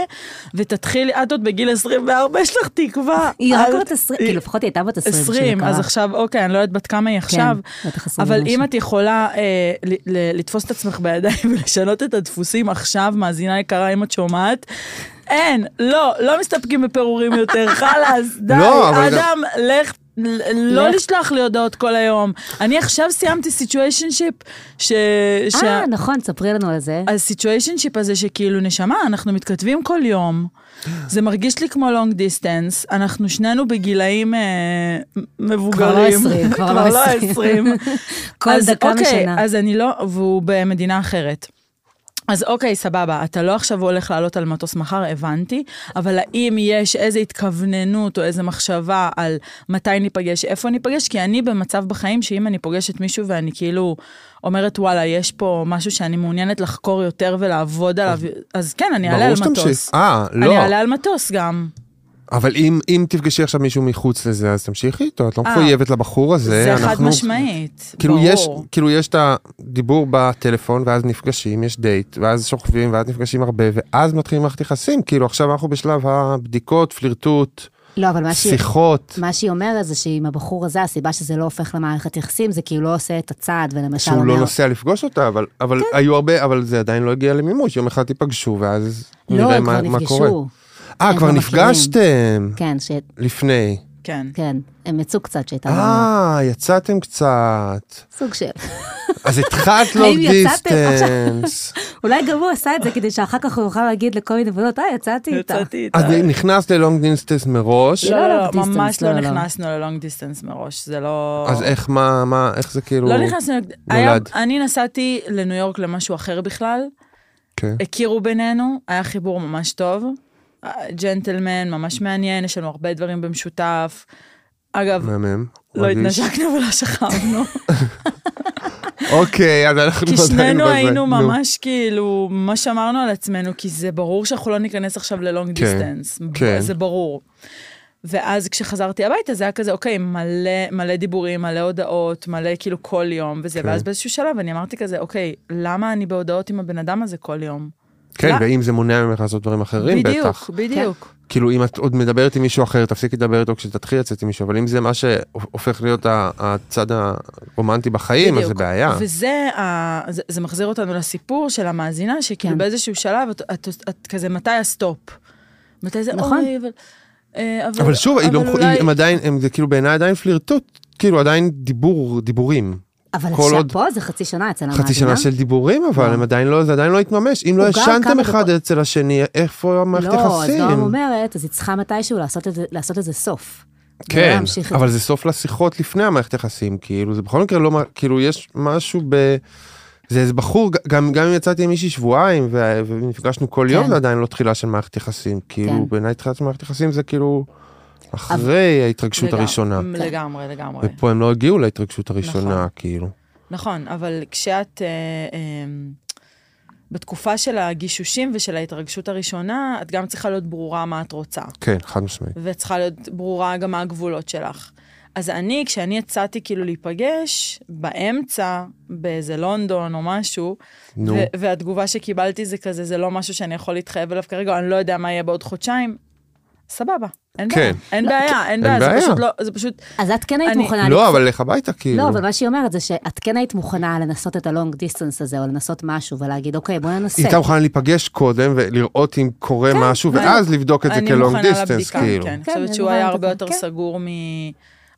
ותתחילי, את עוד בגיל 24, יש לך תקווה. היא רק אל- בת 20, היא- כאילו לפחות היא הייתה בת 20. כשזה 20, אז קרה. עכשיו, אוקיי, אני לא יודעת בת כמה היא עכשיו, כן, בטח עשרים אבל ומשהו. אם את יכולה אה, ל- ל- לתפוס את עצמך בידיים ולשנות את הדפוסים עכשיו, מאזינה יקרה, אם את שומעת, אין, לא, לא מסתפקים בפירורים יותר, חלאס, די, לא, אבל גם- אדם, לך. ל- לא לך. לשלוח לי הודעות כל היום. אני עכשיו סיימתי סיטואשנשיפ, ש... שה- אה, נכון, ספרי לנו על זה. הסיטואשנשיפ הזה שכאילו, נשמה, אנחנו מתכתבים כל יום, זה מרגיש לי כמו לונג דיסטנס, אנחנו שנינו בגילאים אה, מבוגרים. כבר לא 20, כבר לא 20. 20. כל אז, דקה אוקיי, משנה. אז אני לא, והוא במדינה אחרת. אז אוקיי, סבבה, אתה לא עכשיו הולך לעלות על מטוס מחר, הבנתי, אבל האם יש איזו התכווננות או איזו מחשבה על מתי ניפגש, איפה ניפגש? כי אני במצב בחיים שאם אני פוגשת מישהו ואני כאילו אומרת, וואלה, יש פה משהו שאני מעוניינת לחקור יותר ולעבוד עליו, אז כן, אני אעלה על ברור מטוס. שתמשיך. אה, לא. אני אעלה על מטוס גם. אבל אם, אם תפגשי עכשיו מישהו מחוץ לזה, אז תמשיכי איתו, את לא אה. מחויבת לבחור הזה. זה אנחנו- חד משמעית, כאילו יש, ברור. כאילו יש את הדיבור בטלפון, ואז נפגשים, יש דייט, ואז שוכבים, ואז נפגשים הרבה, ואז מתחילים מערכת יחסים. כאילו עכשיו אנחנו בשלב הבדיקות, פלירטוט, לא, אבל מה שהיא... שיחות. מה שהיא אומרת זה שעם הבחור הזה, הסיבה שזה לא הופך למערכת יחסים, זה כי הוא לא עושה את הצעד, ולמשל שהוא אומר... כן. לא נוסע לפגוש אותה, אבל, אבל היו הרבה, אבל זה עדיין לא הגיע למימוש, יום אחד תיפגשו ואז לא, נראה הם כבר מה, מה קורה. נפגשו. אה, הם כבר כבר מכירים. נפגשתם כן, ש... לפני. כן. כן, הם יצאו קצת שהייתה לנו אה, יצאתם קצת. סוג של... אז התחלת לונג יצאתם? דיסטנס. אולי גם הוא עשה את זה כדי שאחר כך הוא יוכל להגיד לכל מיני בנות, אה, יצאתי איתה. יצאתי איתה. אז נכנסת ללונג דיסטנס מראש, לא לא, לא, long לא, ממש distance, לא לא, לא. נכנסנו ללונג דיסטנס מראש, זה לא... אז איך, מה, מה, איך זה כאילו... לא נכנסנו, היה- נולד. אני נסעתי לניו יורק למשהו אחר בכלל, כן. הכירו בינינו, היה חיבור ממש טוב, ג'נטלמן, ממש מעניין, יש לנו הרבה דברים במשותף. אגב, מהמם. לא רגיש. התנשקנו ולא שכבנו, אוקיי, אז אנחנו... כי עדיין שנינו בזה. היינו נו. ממש כאילו, מה שאמרנו על עצמנו, כי זה ברור שאנחנו לא ניכנס עכשיו ללונג כן, דיסטנס, כן. זה ברור. ואז כשחזרתי הביתה זה היה כזה, אוקיי, מלא, מלא דיבורים, מלא הודעות, מלא כאילו כל יום וזה, כן. ואז באיזשהו שלב אני אמרתי כזה, אוקיי, למה אני בהודעות עם הבן אדם הזה כל יום? כן, לא. ואם זה מונע ממך לעשות דברים אחרים, בטח. בדיוק, בדיוק. כאילו אם את עוד מדברת עם מישהו אחר, תפסיקי לדבר איתו כשתתחיל לצאת עם מישהו, אבל אם זה מה שהופך להיות ה- הצד הרומנטי בחיים, אז זה בדיוק. בעיה. וזה, ה- זה, זה מחזיר אותנו לסיפור של המאזינה, שכאילו כן. באיזשהו שלב את, את, את, את כזה, מתי הסטופ? מתי זה, נכון. אוי, אבל... אה, אבל שוב, היא לא- אולי- הם עדיין, הם- זה כאילו בעיניי עדיין פלירטוט, כאילו עדיין דיבור, דיבורים. אבל כל עכשיו עוד- פה זה חצי שנה אצל המאזינה. חצי שנה של דיבורים, אבל הם עדיין לא, זה עדיין לא התממש. אם לא הוא גר ישנתם כמה אחד דקות. אצל השני, איפה המערכת לא, אז יחסים? נועם אומרת, אז היא צריכה מתישהו לעשות לזה- לעשות לזה סוף. ולא כן, לא להמשיך את אבל זה סוף לשיחות לפני המערכת יחסים, כאילו, זה בכל מקרה לא, מה- כאילו, יש משהו ב... זה איזה בחור, ג- גם, גם אם יצאתי עם מישהי שבועיים, וה- ונפגשנו כל יום, כן. זה עדיין לא תחילה של מערכת יחסים. כאילו, כן. בעיניי תחילה של מערכת יחסים זה כאילו, אחרי ההתרגשות לגמרי, הראשונה. לגמרי, לגמרי. ופה הם לא הגיעו להתרגשות הראשונה, נכון. כאילו. נכון, אבל כשאת... אה, אה, בתקופה של הגישושים ושל ההתרגשות הראשונה, את גם צריכה להיות ברורה מה את רוצה. כן, חד משמעית. וצריכה להיות ברורה גם מה הגבולות שלך. אז אני, כשאני יצאתי כאילו להיפגש, באמצע, באיזה לונדון או משהו, נו. ו- והתגובה שקיבלתי זה כזה, זה לא משהו שאני יכול להתחייב אליו כרגע, אני לא יודע מה יהיה בעוד חודשיים, סבבה, אין כן. בעיה, אין לא, בעיה, אין בעיה, אין זה בעיה. פשוט לא, זה פשוט, אז את כן היית אני- מוכנה... לא, לקפוץ- אבל לך הביתה, כאילו. לא, אבל מה שהיא אומרת זה שאת כן היית מוכנה לנסות את הלונג דיסטנס הזה, או לנסות משהו, ולהגיד, אוקיי, בואי ננסה. היא הייתה מוכנה להיפגש קודם ולראות אם קורה משהו, אני- ואז לבדוק את זה אני כלונג מוכנה דיסטנס, לבדיקה, כאילו. כן, אני כן, חושבת אני שהוא מוכנה היה הרבה לבדיקה, יותר כן. סגור מ...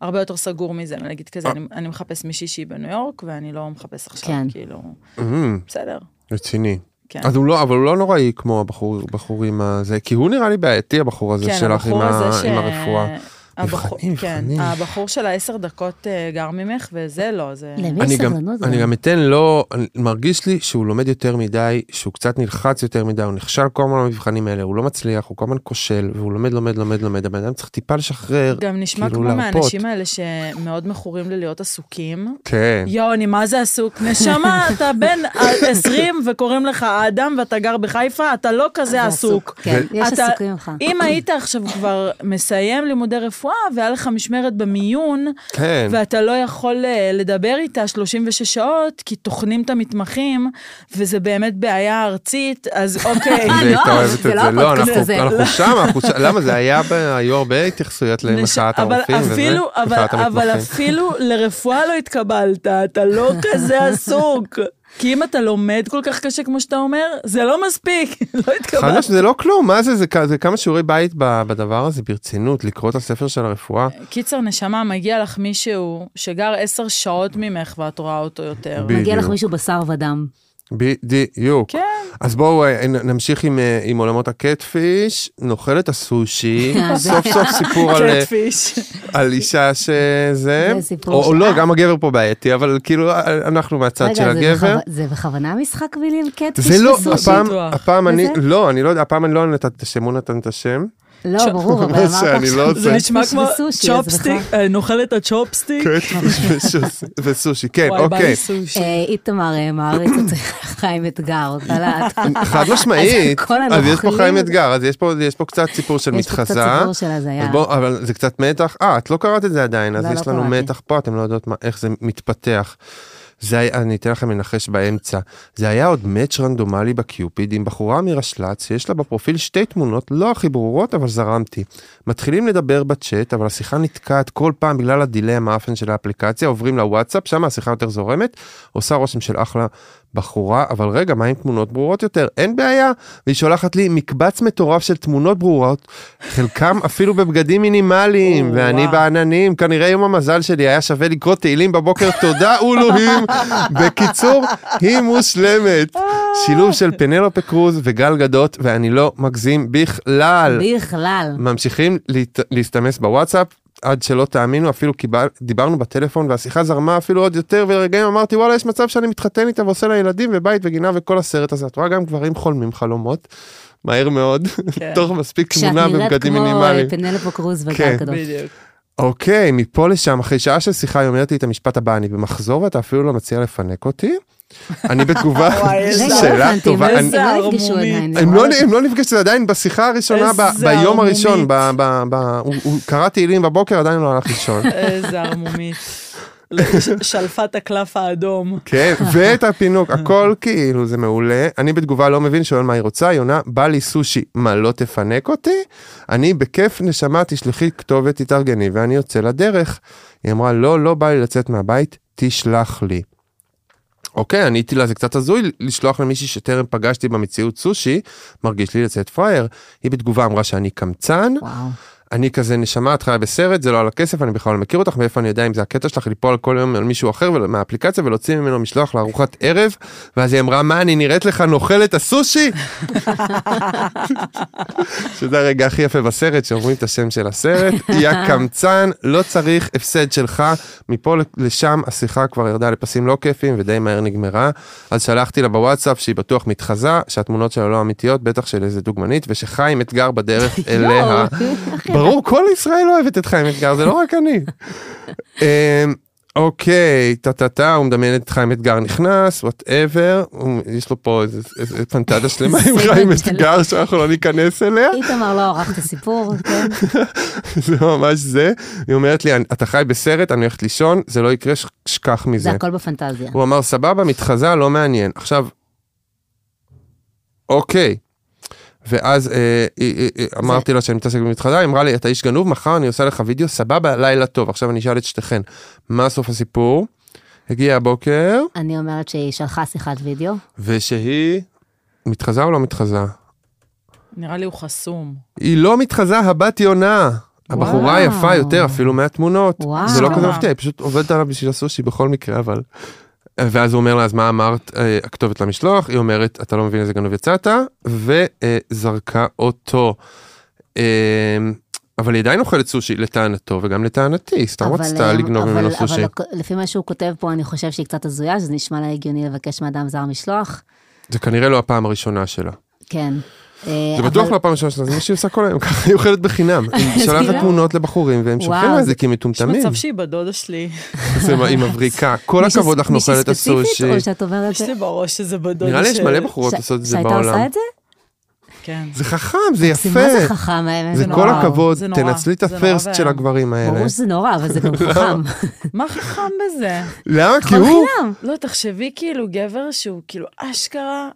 הרבה יותר סגור מזה, נגיד אה. כזה, אני, אני מחפש מישהי שהיא בניו יורק, ואני לא מחפש עכשיו, כן. כאילו, אמ, בסדר, רציני. כן. אז הוא לא, אבל הוא לא נוראי כמו הבחור, הבחור עם הזה, כי הוא נראה לי בעייתי, הבחור הזה שלך עם, כן, הבחור ה, הזה עם הרפואה. הבחור- מבחנים, כן, מבחנים. הבחור של העשר דקות אה, גר ממך, וזה לא, זה... למי יש אני גם, סבלנות? אני גם אתן לו, אני- מרגיש לי שהוא לומד יותר מדי, שהוא קצת נלחץ יותר מדי, הוא נכשל כל הזמן במבחנים האלה, הוא לא מצליח, הוא כל הזמן כושל, והוא לומד, לומד, לומד, לומד, הבן אדם צריך טיפה לשחרר, גם נשמע כאילו כמו להרפות. מהאנשים האלה שמאוד מכורים ללהיות עסוקים. כן, יואו, אני מה זה עסוק? נשמה, אתה בן 20 וקוראים לך אדם ואתה גר בחיפה, אתה לא כזה עסוק. כן, ו- יש אתה- עסוקים ממך. אם היית עכשיו כבר מסיים לימודי רפואה והיה לך משמרת במיון, כן. ואתה לא יכול אה, לדבר איתה 36 שעות, כי טוחנים את המתמחים, וזה באמת בעיה ארצית, אז אוקיי. היא הייתה אוהבת את זה זה, לא לא, הפודקאסט אנחנו- הזה. אנחנו שם, אנחנו שם, למה זה היה, ב- היו הרבה התייחסויות למחאת אבל הרופאים וזה, אפילו, אבל, מחאת אבל המתמחים. אפילו לרפואה לא התקבלת, אתה לא כזה עסוק. כי אם אתה לומד כל כך קשה כמו שאתה אומר, זה לא מספיק, לא חד התקבלת. משמעית, זה לא כלום, מה זה, זה כ- זה כמה שיעורי בית ב- בדבר הזה, ברצינות, לקרוא את הספר של הרפואה. קיצר, נשמה, מגיע לך מישהו שגר עשר שעות ממך ואת רואה אותו יותר. ב- מגיע לך בדיוק. מישהו בשר ודם. בדיוק. כן. אז בואו אה, נ- נמשיך עם, אה, עם עולמות הקטפיש, נאכלת הסושי, סוף סוף סיפור על, אה, קטפיש. על אישה שזה, זה סיפור או, או ש- לא, אה. גם הגבר פה בעייתי, אבל כאילו אה, אנחנו מהצד של רגע, זה הגבר. בכו- זה בכוונה משחק מילים קטפיש זה לא, וסושי? הפעם, בטוח. הפעם וזה? אני, לא, אני לא יודע, הפעם אני לא נתתי את השם, הוא נתן את השם. לא, ברור, אבל שאני אמרת לא עכשיו עושה. זה נשמע קטפיש כמו וסושי, אז צ'ופסטיק, בכלל- אה, נאכל את הצ'ופסטיק. וסושי- וסושי, כן, וואי, בא לי אוקיי. סושי. אה, איתמר אה, מעריץ את חיים אתגר, אותה להט. חד משמעית, אז כל אז יש פה הנוכלים- חיים אתגר, אז יש פה- יש פה קצת סיפור של יש פה קצת מתחזה. סיפור של הזיה. אז בוא, אבל זה קצת מתח, אה, את לא קראת את זה עדיין, אז לא, לא יש לנו קראתי. מתח פה, אתם לא יודעות מה- איך זה מתפתח. זה היה, אני אתן לכם לנחש באמצע. זה היה עוד מאץ' רנדומלי בקיופיד עם בחורה מרשל"צ, שיש לה בפרופיל שתי תמונות לא הכי ברורות, אבל זרמתי. מתחילים לדבר בצ'אט, אבל השיחה נתקעת כל פעם בגלל הדיליי המאפן של האפליקציה, עוברים לוואטסאפ, שם השיחה יותר זורמת, עושה רושם של אחלה בחורה, אבל רגע, מה עם תמונות ברורות יותר? אין בעיה. והיא שולחת לי מקבץ מטורף של תמונות ברורות, חלקם אפילו בבגדים מינימליים, ואני בעננים, כנראה יום המזל שלי היה שווה לקרוא תהילים בבוקר, תודה אלוהים. בקיצור, היא מושלמת. שילוב של פנלופה קרוז וגל גדות, ואני לא מגזים בכלל. בכלל. ממשיכים להת... להסתמס בוואטסאפ. עד שלא תאמינו, אפילו קיבל, דיברנו בטלפון והשיחה זרמה אפילו עוד יותר, ולרגעים אמרתי וואלה יש מצב שאני מתחתן איתה ועושה לה ילדים ובית וגינה וכל הסרט הזה. את רואה גם גברים חולמים חלומות, מהר מאוד, כן. תוך מספיק כשאת תמונה נראית ובגדים כמו מינימליים. אה, פנלפו קרוז כן. וגל גדול. בדיוק. אוקיי, מפה לשם, אחרי שעה של שיחה היא אומרת לי את המשפט הבא, אני במחזור ואתה אפילו לא מציע לפנק אותי? אני בתגובה, איזה רגע, לא שאלה הבנתי, טובה. הם לא- אני- הם לא נפגשו ערמומי. עדיין. הם לא, זה הם לא נפגשו עדיין בשיחה הראשונה, ב, איזה ביום ערמומית. הראשון, ב, ב, ב, הוא, הוא קרא תהילים בבוקר, עדיין לא הלך לישון. איזה ערמומית. שלפה את הקלף האדום. כן, ואת הפינוק, הכל כאילו זה מעולה. אני בתגובה לא מבין, שואל מה היא רוצה, היא עונה, בא לי סושי, מה לא תפנק אותי? אני בכיף נשמה, תשלחי כתובת, תתארגני, ואני יוצא לדרך. היא אמרה, לא, לא בא לי לצאת מהבית, תשלח לי. אוקיי, עניתי לה, זה קצת הזוי לשלוח למישהי שטרם פגשתי במציאות סושי, מרגיש לי לצאת פראייר. היא בתגובה אמרה שאני קמצן, וואו. אני כזה נשמה, את חיה בסרט, זה לא על הכסף, אני בכלל לא מכיר אותך, מאיפה אני יודע אם זה הקטע שלך ליפול כל יום על מישהו אחר ול- מהאפליקציה ולהוציא ממנו משלוח לארוחת ערב, ואז היא אמרה, מה, אני נראית לך נוכלת הסושי? שזה הרגע הכי יפה בסרט, שאומרים את השם של הסרט, יא קמצן, לא צריך הפסד שלך. מפה לשם השיחה כבר ירדה לפסים לא כיפים ודי מהר נגמרה. אז שלחתי לה בוואטסאפ שהיא בטוח מתחזה, שהתמונות שלה לא אמיתיות, בטח של איזה דוגמנית, ושחיים אתגר בדרך אליה. ברור, כל ישראל אוהבת את חיים אתגר, זה לא רק אני. אמ, אוקיי, טה טה טה, הוא מדמיין את חיים אתגר נכנס, וואטאבר, יש לו פה איזה איזה פנטזיה שלמה עם סבל חיים שלם. אתגר שאנחנו לא ניכנס אליה. איתמר לא ערך את הסיפור, כן? זה ממש זה. היא אומרת לי, אתה חי בסרט, אני הולכת לישון, זה לא יקרה, ש- שכח מזה. זה הכל בפנטזיה. הוא אמר, סבבה, מתחזה, לא מעניין. עכשיו, אוקיי. ואז אה, אה, אה, אה, אמרתי לה שאני מתעסק במתחזה, היא אמרה לי, אתה איש גנוב, מחר אני עושה לך וידאו, סבבה, לילה טוב. עכשיו אני אשאל את שתיכן, מה סוף הסיפור? הגיע הבוקר, אני אומרת שהיא שלחה שיחת וידאו. ושהיא מתחזה או לא מתחזה? נראה לי הוא חסום. היא לא מתחזה, הבת יונה. הבחורה וואו. היפה יותר אפילו מהתמונות. וואו. זה לא אשכרה. כזה מפתיע, היא פשוט עובדת עליו בשביל הסושי בכל מקרה, אבל... ואז הוא אומר לה, אז מה אמרת, אה, הכתובת למשלוח? היא אומרת, אתה לא מבין איזה גנוב יצאת, וזרקה אותו. אה, אבל היא עדיין אוכלת סושי, לטענתו וגם לטענתי, היא סתם אבל, רצתה אה, לגנוב אבל- ממנו סושי. אבל לפי מה שהוא כותב פה, אני חושב שהיא קצת הזויה, שזה נשמע לה הגיוני לבקש מאדם זר משלוח. זה כנראה לא הפעם הראשונה שלה. כן. אה, זה בטוח אבל- לא הפעם הראשונה שלה, זה מה שהיא עושה כל היום, ככה היא אוכלת בחינם. היא אז שולחת כאילו- תמונות לבחורים והם שולחים וואו, לה את זה- זה כי הם יש מטומטמים. מצב שהיא בדודה שלי. זה מה, היא מבריקה. כל מישהי- הכבוד לך מישהי נאכלת הסושי. ספציפית, או שאת אומרת... יש לי בראש שזה בדודה שלי. נראה לי יש מלא בחורות ש- עושות את זה שהייתה עושה בעולם. את זה? כן. זה חכם, זה זה מה זה יפה. חכם האמת. זה זה כל נורא, הכבוד, זה נורא, תנצלי את זה הפרסט נורא של ואיום. הגברים האלה. לא. ברור שזה נורא, אבל זה גם חכם. מה חכם בזה? למה? כי כל הוא... חינם. לא, תחשבי כאילו גבר שהוא כאילו אשכרה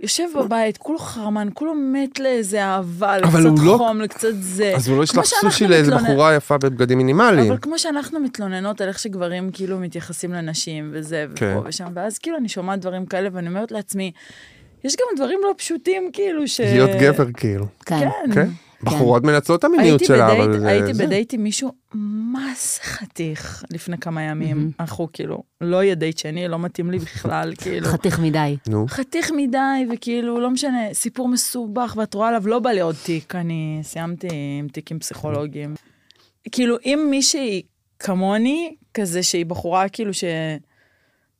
יושב בבית, כולו חרמן, כולו מת לאיזה אהבה, אבל לקצת הוא לא- חום, לקצת זה. אז הוא לא כמו ישלח שאנחנו סושי לאיזה מתלונן- בחורה יפה בבגדים מינימליים. אבל כמו שאנחנו מתלוננות על איך שגברים כאילו מתייחסים לנשים וזה ופה כן. ושם, ואז כאילו אני שומעת דברים כאלה ואני אומרת לעצמי, יש גם דברים לא פשוטים כאילו ש... להיות גבר כאילו. כן. כן. כן? בחורות מנצלות את המיניות הייתי שלה, בדייט, אבל זה... הייתי זה. בדייט עם מישהו מה זה חתיך לפני כמה ימים. אנחנו כאילו, לא יהיה דייט שני, לא מתאים לי בכלל, כאילו. חתיך מדי. נו. חתיך מדי, וכאילו, לא משנה, סיפור מסובך, ואת רואה עליו, לא בא לי עוד תיק, אני סיימתי עם תיקים פסיכולוגיים. כאילו, אם מישהי כמוני, כזה שהיא בחורה, כאילו, ש...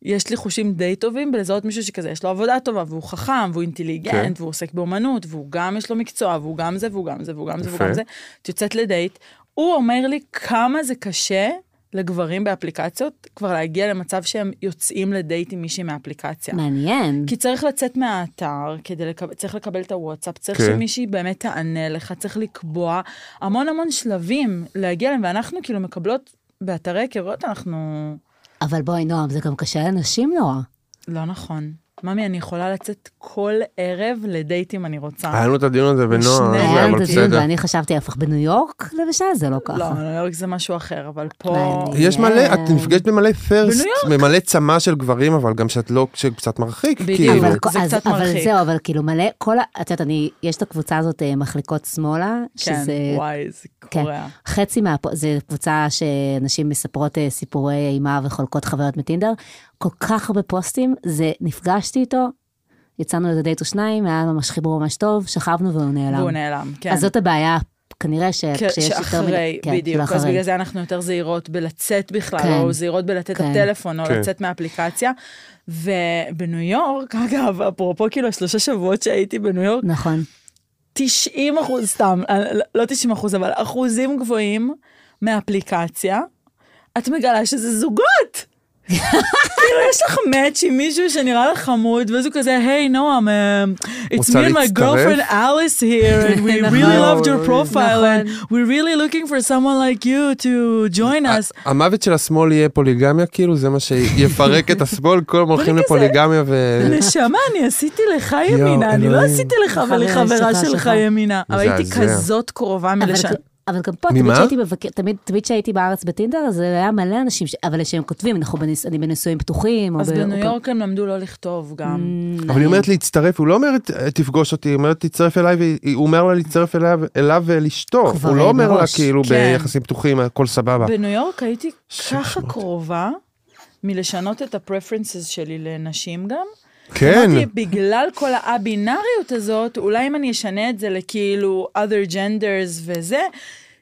יש לי חושים די טובים בלזהות מישהו שכזה, יש לו עבודה טובה, והוא חכם, והוא כן. אינטליגנט, והוא עוסק באומנות, והוא גם, יש לו מקצוע, והוא גם זה, והוא גם זה, והוא גם זה, והוא יפה. גם זה. את יוצאת לדייט, הוא אומר לי כמה זה קשה לגברים באפליקציות כבר להגיע למצב שהם יוצאים לדייט עם מישהי מהאפליקציה. מעניין. כי צריך לצאת מהאתר, כדי לקב... צריך לקבל את הוואטסאפ, צריך כן. כן. שמישהי באמת תענה לך, צריך לקבוע המון המון שלבים להגיע אליהם, ואנחנו כאילו מקבלות באתרי היכרויות, אנחנו... אבל בואי, נועם, זה גם קשה לנשים נורא. אה, לא נכון. ממי, אני יכולה לצאת כל ערב לדייט אם אני רוצה. היה לנו את הדיון הזה בנועם, שני- היה זה, לנו את אבל הדיון בסדר. ואני חשבתי הפך בניו יורק, למשל, זה לא לא, ככה. ניו יורק זה משהו אחר, אבל פה... מעניין. יש מלא, את נפגשת במלא פרסט, בניו במלא צמא של גברים, אבל גם שאת לא, שקצת מרחיק, בדיוק. כאילו. אבל זה כל- אז- קצת אבל מרחיק. זהו, אבל כאילו מלא, כל ה... את יודעת, אני, יש את הקבוצה הזאת אה, מחליקות שמאלה, כן, שזה וואי, זה כן. קורע. חצי מה... זו קבוצה שנשים מספרות אה, סיפורי אימה וחולקות חברות מטינדר. כל כך הרבה פוסטים, זה, נפגשתי איתו, יצאנו איזה דייט או שניים, היה ממש חיבור ממש טוב, שכבנו והוא נעלם. והוא נעלם, כן. אז זאת הבעיה, כנראה שכשיש יותר שאחרי, כן, בדיוק. אז שאחרי. בגלל זה אנחנו יותר זהירות בלצאת בכלל, כן. או זהירות בלתת כן. הטלפון, או כן. לצאת מהאפליקציה. ובניו יורק, אגב, אפרופו כאילו השלושה שבועות שהייתי בניו יורק, נכון. 90 אחוז, סתם, אה, לא- לא 90 אחוז, אבל אחוזים גבוהים מהאפליקציה, את מגלה שזה זוגות. כאילו, יש לך מאץ' עם מישהו שנראה לך חמוד, ואז הוא כזה, היי, נועם, אה, it's רוצה me and my להצטרף?" girlfriend Alice here, and we really נכון. loved your profile, and we're really looking for someone like you to join us. המוות של השמאל יהיה פוליגמיה כאילו זה מה שיפרק את השמאל כל הזמן הולכים כזה- לפוליגמיה ו... נשמה, אני עשיתי לך אה. יואו, ימינה, אני לא אלוהים. עשיתי לך חברה ולחברה שלך, שלך שלך. ימינה. אבל הייתי מזעזע. כזאת קרובה אבל לא- מלשנות. אבל גם פה, תמיד ממה? שהייתי, מבק... תמיד, תמיד שהייתי בארץ בטינדר, אז היה מלא אנשים, ש... אבל שהם כותבים, אנחנו בניס... אני בנישואים פתוחים. או אז ב- או בניו ב- יורק הם למדו לא לכתוב גם. אבל היא אומרת להצטרף, הוא לא אומר "ת- תפגוש אותי, היא אומרת תצטרף אליי, והיא- הוא אומר לה להצטרף אליו- אליו ולשתוק, כבר הוא לא אומר לה מראש. כאילו כן. ביחסים פתוחים הכל סבבה. בניו יורק הייתי שש ככה מאות. קרובה מלשנות את הפרפרנסס שלי לנשים גם. כן, אמרתי, בגלל כל האבינאריות הזאת, אולי אם אני אשנה את זה לכאילו other genders וזה,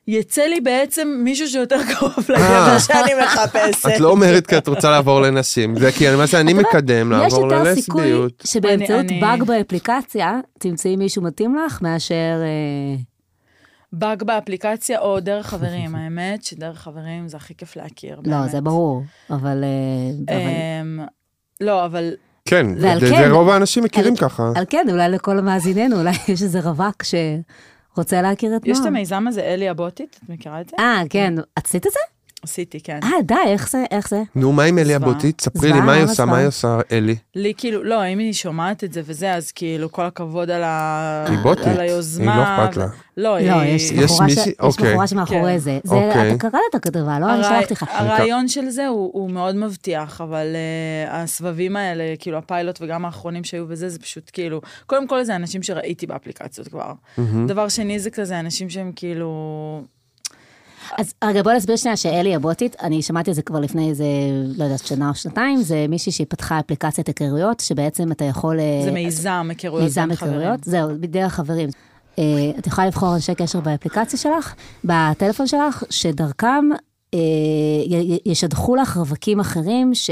יצא לי בעצם מישהו שיותר קרוב לגבר אה. שאני מחפשת. את לא אומרת כי את רוצה לעבור לנשים, זה כי מה שאני מקדם, יש לעבור יותר סיכוי ללסביות. שבאמצעות אני- אני- באג באפליקציה, תמצאי מישהו מתאים לך, מאשר... אה, באג באפליקציה או דרך חברים, האמת שדרך חברים זה הכי כיף להכיר. לא, באמת. זה ברור, אבל... אה, אבל- אמ, לא, אבל כן, ועל זה- כן- זה רוב האנשים מכירים על- ככה. על כן, אולי לכל מאזיננו, אולי יש איזה רווק שרוצה להכיר את נועם. יש את המיזם הזה, אלי הבוטית, את מכירה את זה? אה, כן, את עשית את זה? עשיתי, כן. אה, די, איך זה? איך זה? נו, מה עם אלי זוועה. אבוטית? ספרי לי, זוועה, מה היא למה עושה? מה היא עושה, אלי? לי כאילו, לא, אם היא שומעת את זה וזה, אז כאילו, כל הכבוד על, ה... היא בוטית. על היוזמה. היא לא אכפת ו- לה. לא, היא... לא, יש יש בחורה ש- מישהי? יש בחורה אוקיי. שמאחורי כן. זה. זה- אוקיי. אתה קראת את הכתבה, לא? אני הרעי- שלחתי לך. הרעיון של זה הוא, הוא מאוד מבטיח, אבל uh, הסבבים האלה, כאילו הפיילוט וגם האחרונים שהיו וזה, זה פשוט כאילו, קודם כל זה אנשים שראיתי באפליקציות כבר. דבר שני זה כזה אנשים שהם כאילו... אז רגע, בוא נסביר שנייה שאלי הבוטית, אני שמעתי את זה כבר לפני איזה, לא יודעת, שנה או שנתיים, זה מישהי שפתחה אפליקציית היכרויות, שבעצם אתה יכול... אה, זה מיזם, היכרויות מיזם בין חברים. היכרויות, זהו, בדרך חברים. אה, את יכולה לבחור אנשי קשר באפליקציה שלך, בטלפון שלך, שדרכם אה, י- י- ישדכו לך רווקים אחרים ש...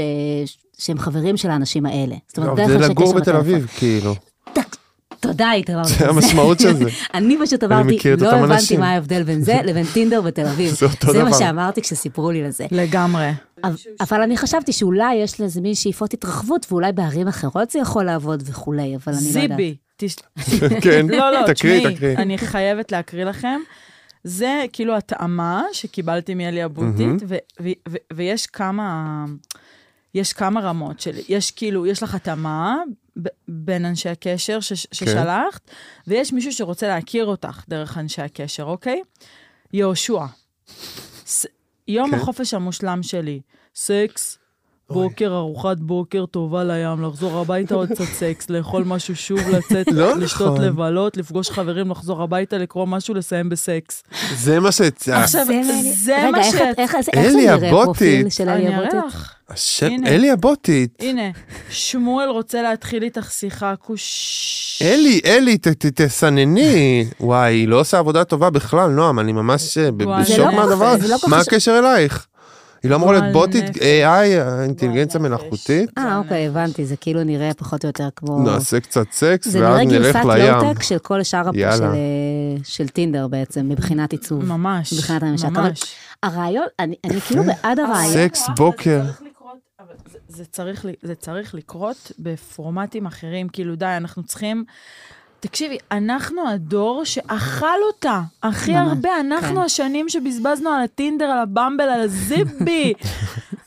שהם חברים של האנשים האלה. זאת אומרת, לא, אבל דרך זה אנשי לגור קשר בתל בטלפון. אביב, כאילו. טק, תודה, איתמר. זה המשמעות של זה. אני פשוט אני אמרתי, מכיר את לא אותם הבנתי אנשים." מה ההבדל בין זה לבין טינדר בתל אביב. זה אותו זה מה דבר. שאמרתי כשסיפרו לי על זה. לגמרי. אבל- אבל אני חשבתי שאולי יש לזה מין שאיפות התרחבות, ואולי בערים אחרות זה יכול לעבוד וכולי, אבל אני לא יודעת. זיבי. תש... כן, לא, לא, תקריא, תשמעי, תקריא. אני חייבת להקריא לכם. זה כאילו התאמה שקיבלתי מאלי אבוטית, ו- ו- ו- ויש כמה... יש כמה רמות של, יש כאילו, יש לך התאמה ב- בין אנשי הקשר ש- כן. ששלחת, ויש מישהו שרוצה להכיר אותך דרך אנשי הקשר, אוקיי? יהושע, ס- יום כן. החופש המושלם שלי, סקס, בוקר, ארוחת בוקר, טובה לים, לחזור הביתה עוד קצת סקס, לאכול משהו שוב, לצאת, לא לשתות נכון. לבלות, לפגוש חברים, לחזור הביתה, לקרוא משהו, לסיים בסקס. זה מה שהצעת. עכשיו, זה רגע, מה ש... איך- איך איך- איך זה אלי נראה פרופיל הבוטית. של אלי אני אראה הבוטית? לך. השם, הנה. אלי הבוטית. הנה, שמואל רוצה להתחיל איתך שיחה, כוש... אלי, אלי, ת- ת- תסנני. וואי, היא לא עושה עבודה טובה בכלל, נועם, אני ממש אה, ב- וואי, נכון. זה בשוק לא מהדבר יפה, זה הזה. לא כל מה כך ש- הקשר אלייך? היא לא אמורה להיות וואי, בוטית, נפש. AI, האינטליגנציה מלאכותית? אה, אוקיי, הבנתי, זה כאילו נראה פחות או יותר כמו... נעשה קצת סקס, זה ואז נראה נלך גרסת לים. לואו-טק של כל שאר הפ... יאללה. של, אה, של טינדר בעצם, מבחינת עיצוב. ממש, מבחינת הממשק. אבל ממש. הרעיון, אני, אני אה, כאילו בעד הרעיון. סקס בוקר. אבל זה- זה צריך, ל- זה צריך לקרות בפורמטים אחרים, כאילו די, אנחנו צריכים... תקשיבי, אנחנו הדור שאכל אותה הכי ממש, הרבה, אנחנו כן. השנים שבזבזנו על הטינדר, על הבמבל, על הזיבי.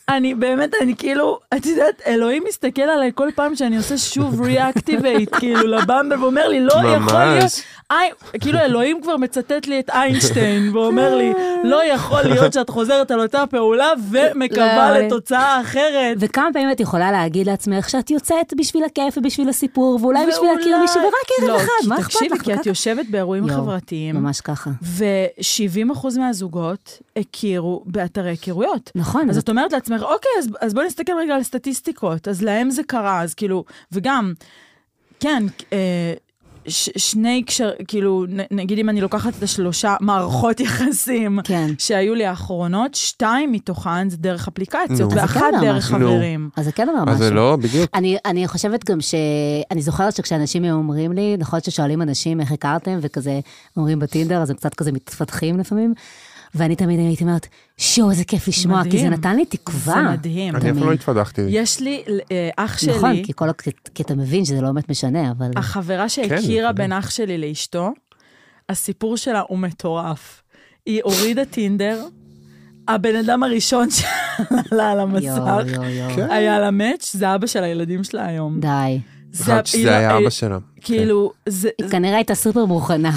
אני באמת, אני כאילו, את יודעת, אלוהים מסתכל עליי כל פעם שאני עושה שוב ריאקטיבייט, כאילו, לבמבל, ואומר לי, לא יכול להיות, ממש. אי, כאילו אלוהים כבר מצטט לי את איינשטיין, ואומר לי, לא יכול להיות שאת חוזרת על אותה פעולה לא, ומקווה אני- לתוצאה אחרת. וכמה פעמים את יכולה להגיד לעצמך שאת יוצאת בשביל הכיף ובשביל הסיפור, ואולי בשביל להכיר מישהו ורק ערב לא, אחד, מה אכפת תקשיבי, לך? כי כל את כך- יושבת באירועים יואו, חברתיים, ממש ככה. ו-70% מהזוגות הכירו באתרי היכרויות. נכון, אז אז את אומרת לעצמך, אוקיי, אז, אז בוא נסתכל רגע על סטטיסטיקות, אז להם זה קרה, אז כאילו, וגם, כן, אה, ש, שני קשר, כאילו, נ, נגיד אם אני לוקחת את השלושה מערכות יחסים כן. שהיו לי האחרונות, שתיים מתוכן זה דרך אפליקציות, נו. אז זה ואחת כן דרך ממש. נו. חברים. אז זה כן אמר משהו. אז זה לא, בדיוק. אני, אני חושבת גם ש... אני זוכרת שכשאנשים היו אומרים לי, נכון ששואלים אנשים איך הכרתם, וכזה אומרים בטינדר, אז הם קצת כזה מתפתחים לפעמים, ואני תמיד הייתי אומרת, שואו, איזה כיף לשמוע, כי זה מדהים. נתן לי תקווה. זה מדהים. אני אף פעם לא התפתחתי. יש לי אה, אח שלי, נכון, כי, כל, כי, כי אתה מבין שזה לא באמת משנה, אבל... כן. החברה שהכירה בין אח שלי לאשתו, הסיפור שלה הוא מטורף. היא הורידה טינדר, הבן אדם הראשון שעלה על יואו, המסך יואו, יואו. כן. היה לה מאץ', זה אבא של הילדים שלה היום. די. זה- חד היא שזה לא- היה היא- אבא שלה. כאילו, זה... היא כנראה הייתה סופר מוכנה.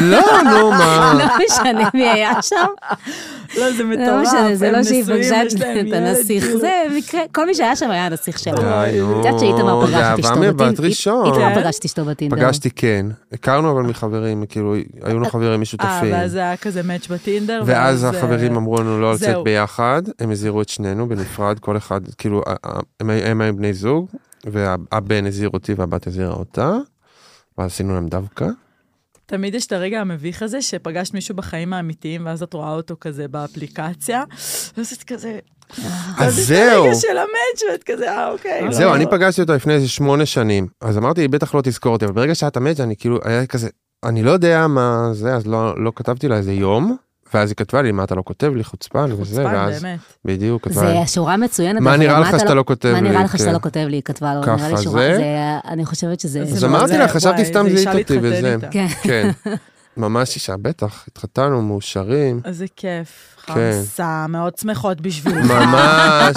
לא, נו, מה? לא משנה מי היה שם. לא, זה מטורף. לא משנה, זה לא הם שהיא נשואים, פגשה יש להם את ילד, הנסיך. כאילו. זה מקרה, כל מי שהיה שם היה הנסיך שלה. די, נו. את יודעת שאיתמר פגש זה את אשתו אהבה מבת בטינדר. ראשון. איתמר כן. פגש את אשתו לא. בטינדר. פגשתי כן, הכרנו אבל מחברים, כאילו היו לנו חברים אה, משותפים. ואז זה היה כזה מאץ' בטינדר. ואז אה, החברים אמרו לנו לא זהו. לצאת ביחד, הם הזהירו את שנינו בנפרד, כל אחד, כאילו, ה- ה- הם היו- הם היו בני זוג, והבן הזהיר אותי והבת הזהירה אותה, ואז עשינו להם דווקא. אה, תמיד יש את הרגע המביך הזה שפגשת מישהו בחיים האמיתיים, ואז את רואה אותו כזה באפליקציה, ואז את כזה... אז "זה זהו, הרגע של המאץ' ואת כזה, אה, אוקיי. לא, זהו, לא. אני פגשתי אותה לפני איזה שמונה שנים, אז אמרתי, היא בטח לא תזכור אותי, אבל ברגע שאת המת, אני כאילו, היה כזה, אני לא יודע מה זה, אז לא לא כתבתי לה איזה יום, ואז היא כתבה לי, מה אתה לא כותב לי, חוצפן וזה, חוצפן, ואז, באמת. בדיוק, כתבה לי, זה שורה מצוינת. מה אבל נראה לך אתה שאתה לא כותב לי? מה נראה לך כן. שאתה לא כותב לי? היא כתבה לו. ככה נראה לי שורה, זה? זה- אני חושבת שזה... זה אז לא אמרתי זה, לה, חשבתי וואי, סתם זה זיהית אישה אותי להתחתן וזה. איתה. כן. כן, ממש אישה, בטח, התחתנו, מאושרים, איזה כיף, כן. חמסה, מאוד שמחות בשבילך. ממש.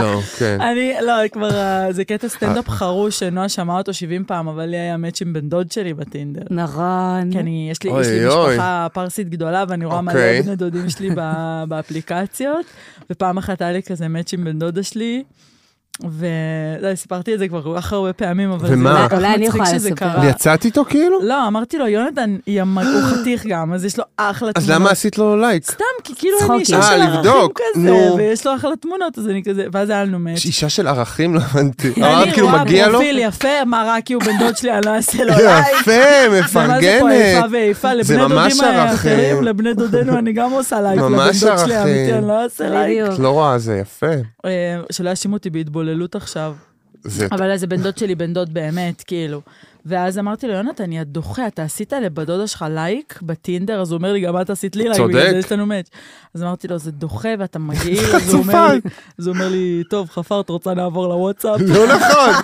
לא, כן. אני, לא, כבר, אה, זה קטע סטנדאפ חרוש שנועה שמעה אותו 70 פעם, אבל לי היה מאץ' עם בן דוד שלי בטינדר. נכון. כי כן, אני, יש לי, אוי, יש לי אוי. משפחה פרסית גדולה, ואני רואה מלא אוקיי. בני דודים שלי ב- באפליקציות, ופעם אחת היה לי כזה מאץ' עם בן דודה שלי. ולא, סיפרתי את זה כבר כל כך הרבה פעמים, אבל זה ומה? כל כך אולי אני מצחיק יכולה שזה לספר. קרה. יצאת איתו כאילו? לא, אמרתי לו, יונתן, היא המ- הוא חתיך גם, אז יש לו אחלה אז תמונות. למה עשית לו לייק? לא. סתם, כי כאילו אני צחוקים. אישה אה, של ערכים לבדוק, כזה, נו. ויש לו אחלה תמונות, אז אני כזה, ואז היה לנו מאץ'. יש אישה של ערכים, לא הבנתי. אני אמרת כאילו רואה מגיע לו? פרופיל יפה, מה רק כי הוא בן דוד שלי, אני לא אעשה לו לייק. יפה, זה מה זה פה איפה מפרגנת. ואיפה, זה לבני ממש דודים האחרים, ערכים. לבני דודנו אני גם עושה לייק, לבן דוד ממש שלי ערכים. האמיתי, אני לא אעשה לייק. בדיוק. את לא רואה, זה יפה. אה, שלא יאשימו אותי בהתבוללות עכשיו, זה אבל איזה בן דוד שלי, בן דוד באמת, כאילו. ואז אמרתי לו, יונתן, יא דוחה, אתה עשית לבדודה שלך לייק בטינדר? אז הוא אומר לי, גם את עשית לי לייק, צודק. בגלל זה יש לנו מאץ'. אז אמרתי לו, זה דוחה ואתה מגעיל. אז הוא אומר חצופה. לי- אז הוא אומר לי, טוב, חפרת, רוצה נעבור לוואטסאפ? לא נכון,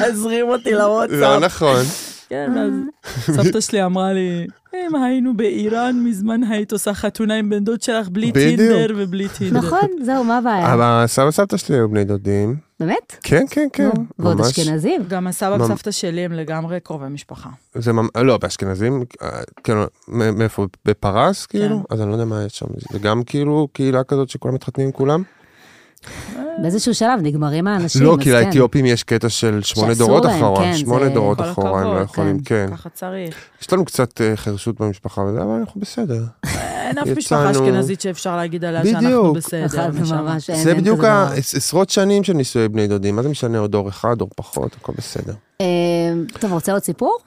הזרים אותי לוואטסאפ. לא נכון. כן, אז סבתא שלי אמרה לי, אם היינו באיראן, מזמן היית עושה חתונה עם בן דוד שלך בלי בדיוק. טינדר ובלי טינדר. נכון, זהו, מה הבעיה? אבל סבא סבתא שלי היו בני דודים. באמת? כן, כן, כן. נו, ועוד ממש. אשכנזים. גם הסבא ממ- וסבתא שלי הם לגמרי קרובי משפחה. זה ממ... לא, באשכנזים, אה, כן, מ- מאיפה, בפרס כן. כאילו? אז אני לא יודע מה יש שם. זה גם כאילו קהילה כזאת שכולם מתחתנים עם כולם? באיזשהו שלב נגמרים האנשים. לא, אז כי כן. לאתיופים יש קטע של שמונה שאסור דורות להם, אחורה, כן, שמונה זה- דורות כל אחורה הם לא הכבוד, יכולים, כן. ככה צריך. יש לנו קצת אה, חירשות במשפחה וזה, אבל אנחנו בסדר. אין אף יצאנו- משפחה אשכנזית שאפשר להגיד עליה שאנחנו בדיוק. בסדר. נכון, זה נשמה. ממש, אין- זה אין בדיוק כזה ה- דבר. עש- עשרות שנים של נישואי בני דודים, מה זה משנה עוד דור אחד, דור פחות, הכל בסדר. אמ, אה, טוב, רוצה עוד סיפור?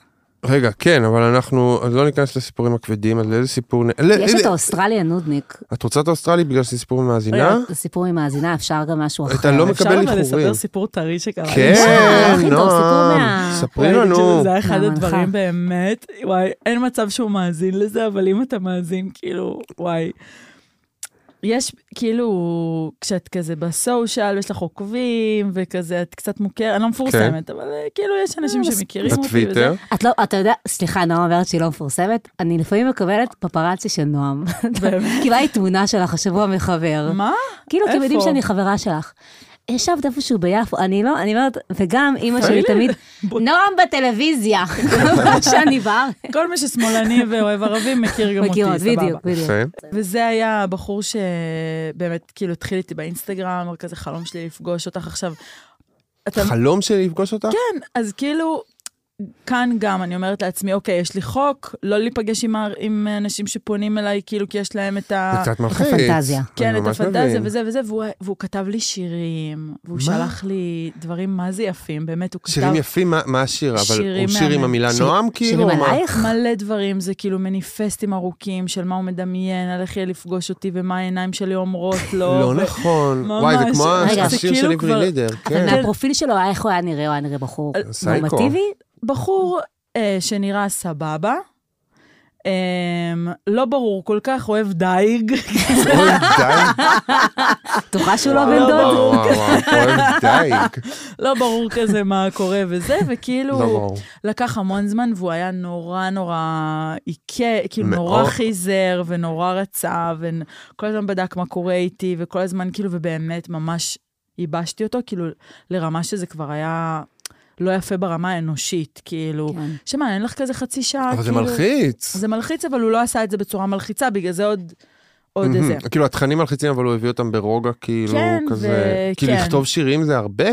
רגע, כן, אבל אנחנו, אז לא ניכנס לסיפורים הכבדים, אז לאיזה סיפור... נ- לא, יש את איזה- האוסטרלי הנודניק. את רוצה את האוסטרלי בגלל שזה סיפור מאזינה? רגע, סיפור עם מאזינה, אפשר גם משהו אחר. אה? אתה לא אפשר מקבל אבל איחורים. לספר סיפור טרי שקרה. לי. אה, כן, הכי טוב, סיפור נועם, מה- ספרי וואי, תקשיבו, לנו. זה היה אחד מהמנחה. הדברים באמת, וואי, אין מצב שהוא מאזין לזה, אבל אם אתה מאזין, כאילו, וואי. יש, כאילו, כשאת כזה בסושיאל ויש לך עוקבים, וכזה, את קצת מוכרת, אני לא מפורסמת, אבל אה, כאילו, יש אנשים שמכירים אותי. כן. בטוויטר. וזה. את לא, אתה יודע, סליחה, נועם אומרת שהיא לא מפורסמת, אני לפעמים מקבלת פפרצי של נועם. באמת? קיבלתי תמונה שלך השבוע מחבר. מה? כאילו, אתם איפה? יודעים שאני חברה שלך. ישבת איפשהו ביפו, אני לא, אני אומרת, וגם אימא תגידי. שלי תמיד, נועם בטלוויזיה, כמו שאני בארץ. כל מי ששמאלני ואוהב ערבים מכיר גם אותי, מכירות, סבבה. בדיוק, בדיוק. יפה. וזה היה הבחור שבאמת, כאילו, התחיל איתי באינסטגרם, אמר כזה חלום שלי לפגוש אותך עכשיו. אתה חלום שלי לפגוש אותך? כן, אז כאילו, כאן גם אני אומרת לעצמי, אוקיי, יש לי חוק, לא להיפגש עם, ה- עם אנשים שפונים אליי, כאילו, כי יש להם את ה... זה קצת מלחיץ. הפנטזיה. כן, אני את ממש הפנטזיה מבין. וזה וזה, והוא, והוא כתב לי שירים, והוא מה? שלח לי דברים מה זה יפים, באמת, הוא כתב... שירים יפים, מה- מה השיר? אבל שירים הוא שיר עם מהמם. המילה שיר- נועם כאילו? שירים או מה? עלייך? מלא דברים, זה כאילו מניפסטים ארוכים של מה הוא מדמיין, על איך יהיה לפגוש אותי ומה העיניים שלי אומרות לו. לא ו- נכון. ממש. וואי, זה כמו רגע, זה השיר של כאילו עברי כבר- לידר. אבל כן. אה, מהפרופיל שלו, היה איך הוא היה נראה, הוא היה נראה בחור סייקו. נורמטיבי? בחור אה, שנראה סבבה, אה, לא ברור כל כך, אוהב דייג. אוי, די. בטוחה שהוא לא בן וואו, דוד? וואו, וואו, אוי, די. לא ברור כזה מה קורה וזה, וכאילו, לא ברור. לקח המון זמן והוא היה נורא נורא עיקה, כאילו מאוד. נורא חיזר ונורא רצה, וכל הזמן בדק מה קורה איתי, וכל הזמן כאילו, ובאמת ממש ייבשתי אותו, כאילו, לרמה שזה כבר היה לא יפה ברמה האנושית, כאילו, כן. שמע, אין לך כזה חצי שעה, אבל זה כאילו- מלחיץ. זה מלחיץ, אבל הוא לא עשה את זה בצורה מלחיצה, בגלל זה עוד, עוד איזה. מהמם. כאילו התכנים מלחיצים, אבל הוא הביא אותם ברוגע, כאילו, כן, כזה... ו- כי כן. לכתוב שירים זה הרבה.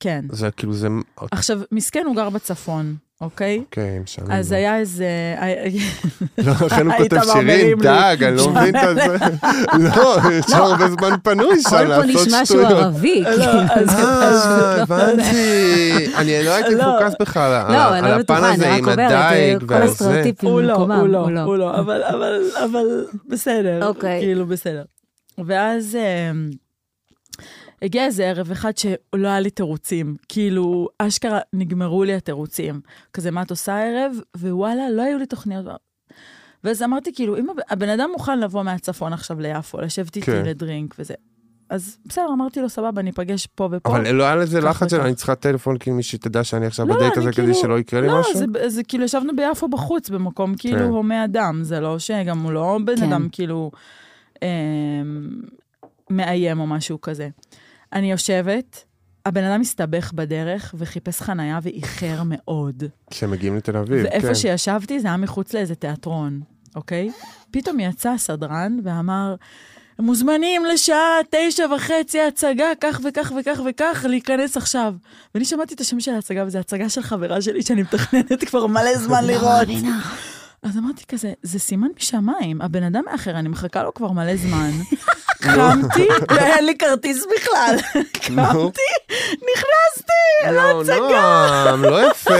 כן. זה כאילו, זה... עכשיו, מסכן, הוא גר בצפון, אוקיי? כן, משעמם. אז היה איזה... אה, לא, לכן הוא היית כותב שירים, מרים לי. דג, אני לא מבין את זה. לא, יש לו הרבה זמן פנוי שם הכל פה לעשות נשמע שהוא שטויות. ערבי. כאילו. לא, אז... לא אה, הבנתי. אני לא הייתי לא. מפוקס בכלל על- לא, אני על לא הפן בטוחה, הזה אני עם רק אומרת, אה, הדייג כל והזה. הסטריאוטיפים הוא לא, במקומם, הוא לא, הוא לא, אבל, אבל, אבל בסדר. אוקיי. כאילו, בסדר. ואז אמ, הגיע איזה ערב אחד שלא היה לי תירוצים. כאילו, אשכרה נגמרו לי התירוצים. כזה, מה את עושה הערב? ווואלה, לא היו לי תוכניות. ואז אמרתי, כאילו, אם הב- הבן אדם מוכן לבוא מהצפון עכשיו ליפו, לשבת איתי כן. לדרינק וזה. אז בסדר, אמרתי לו, סבבה, ניפגש פה ופה. אבל לא היה לזה כך לחץ של וכך. אני צריכה טלפון, כאילו מישהי תדע שאני עכשיו לא, בדייט אני הזה כדי כאילו- שלא יקרה לי לא, משהו? זה, זה כאילו ישבנו ביפו בחוץ, במקום כאילו כן. הומה אדם, זה לא שגם הוא לא בן כן. אדם כאילו אה, מאיים או משהו כזה. אני יושבת, הבן אדם הסתבך בדרך וחיפש חנייה ואיחר מאוד. כשמגיעים לתל אביב, ואיפה כן. שישבתי זה היה מחוץ לאיזה תיאטרון, אוקיי? פתאום יצא הסדרן ואמר, מוזמנים לשעה תשע וחצי הצגה, כך וכך וכך וכך, להיכנס עכשיו. ואני שמעתי את השם של ההצגה, וזו הצגה של חברה שלי שאני מתכננת כבר מלא זמן לראות. אז אמרתי כזה, זה סימן משמיים, הבן אדם מאחר, אני מחכה לו כבר מלא זמן. קמתי, ואין לי כרטיס בכלל. קמתי, נכנסתי, לא, נועם, לא יפה.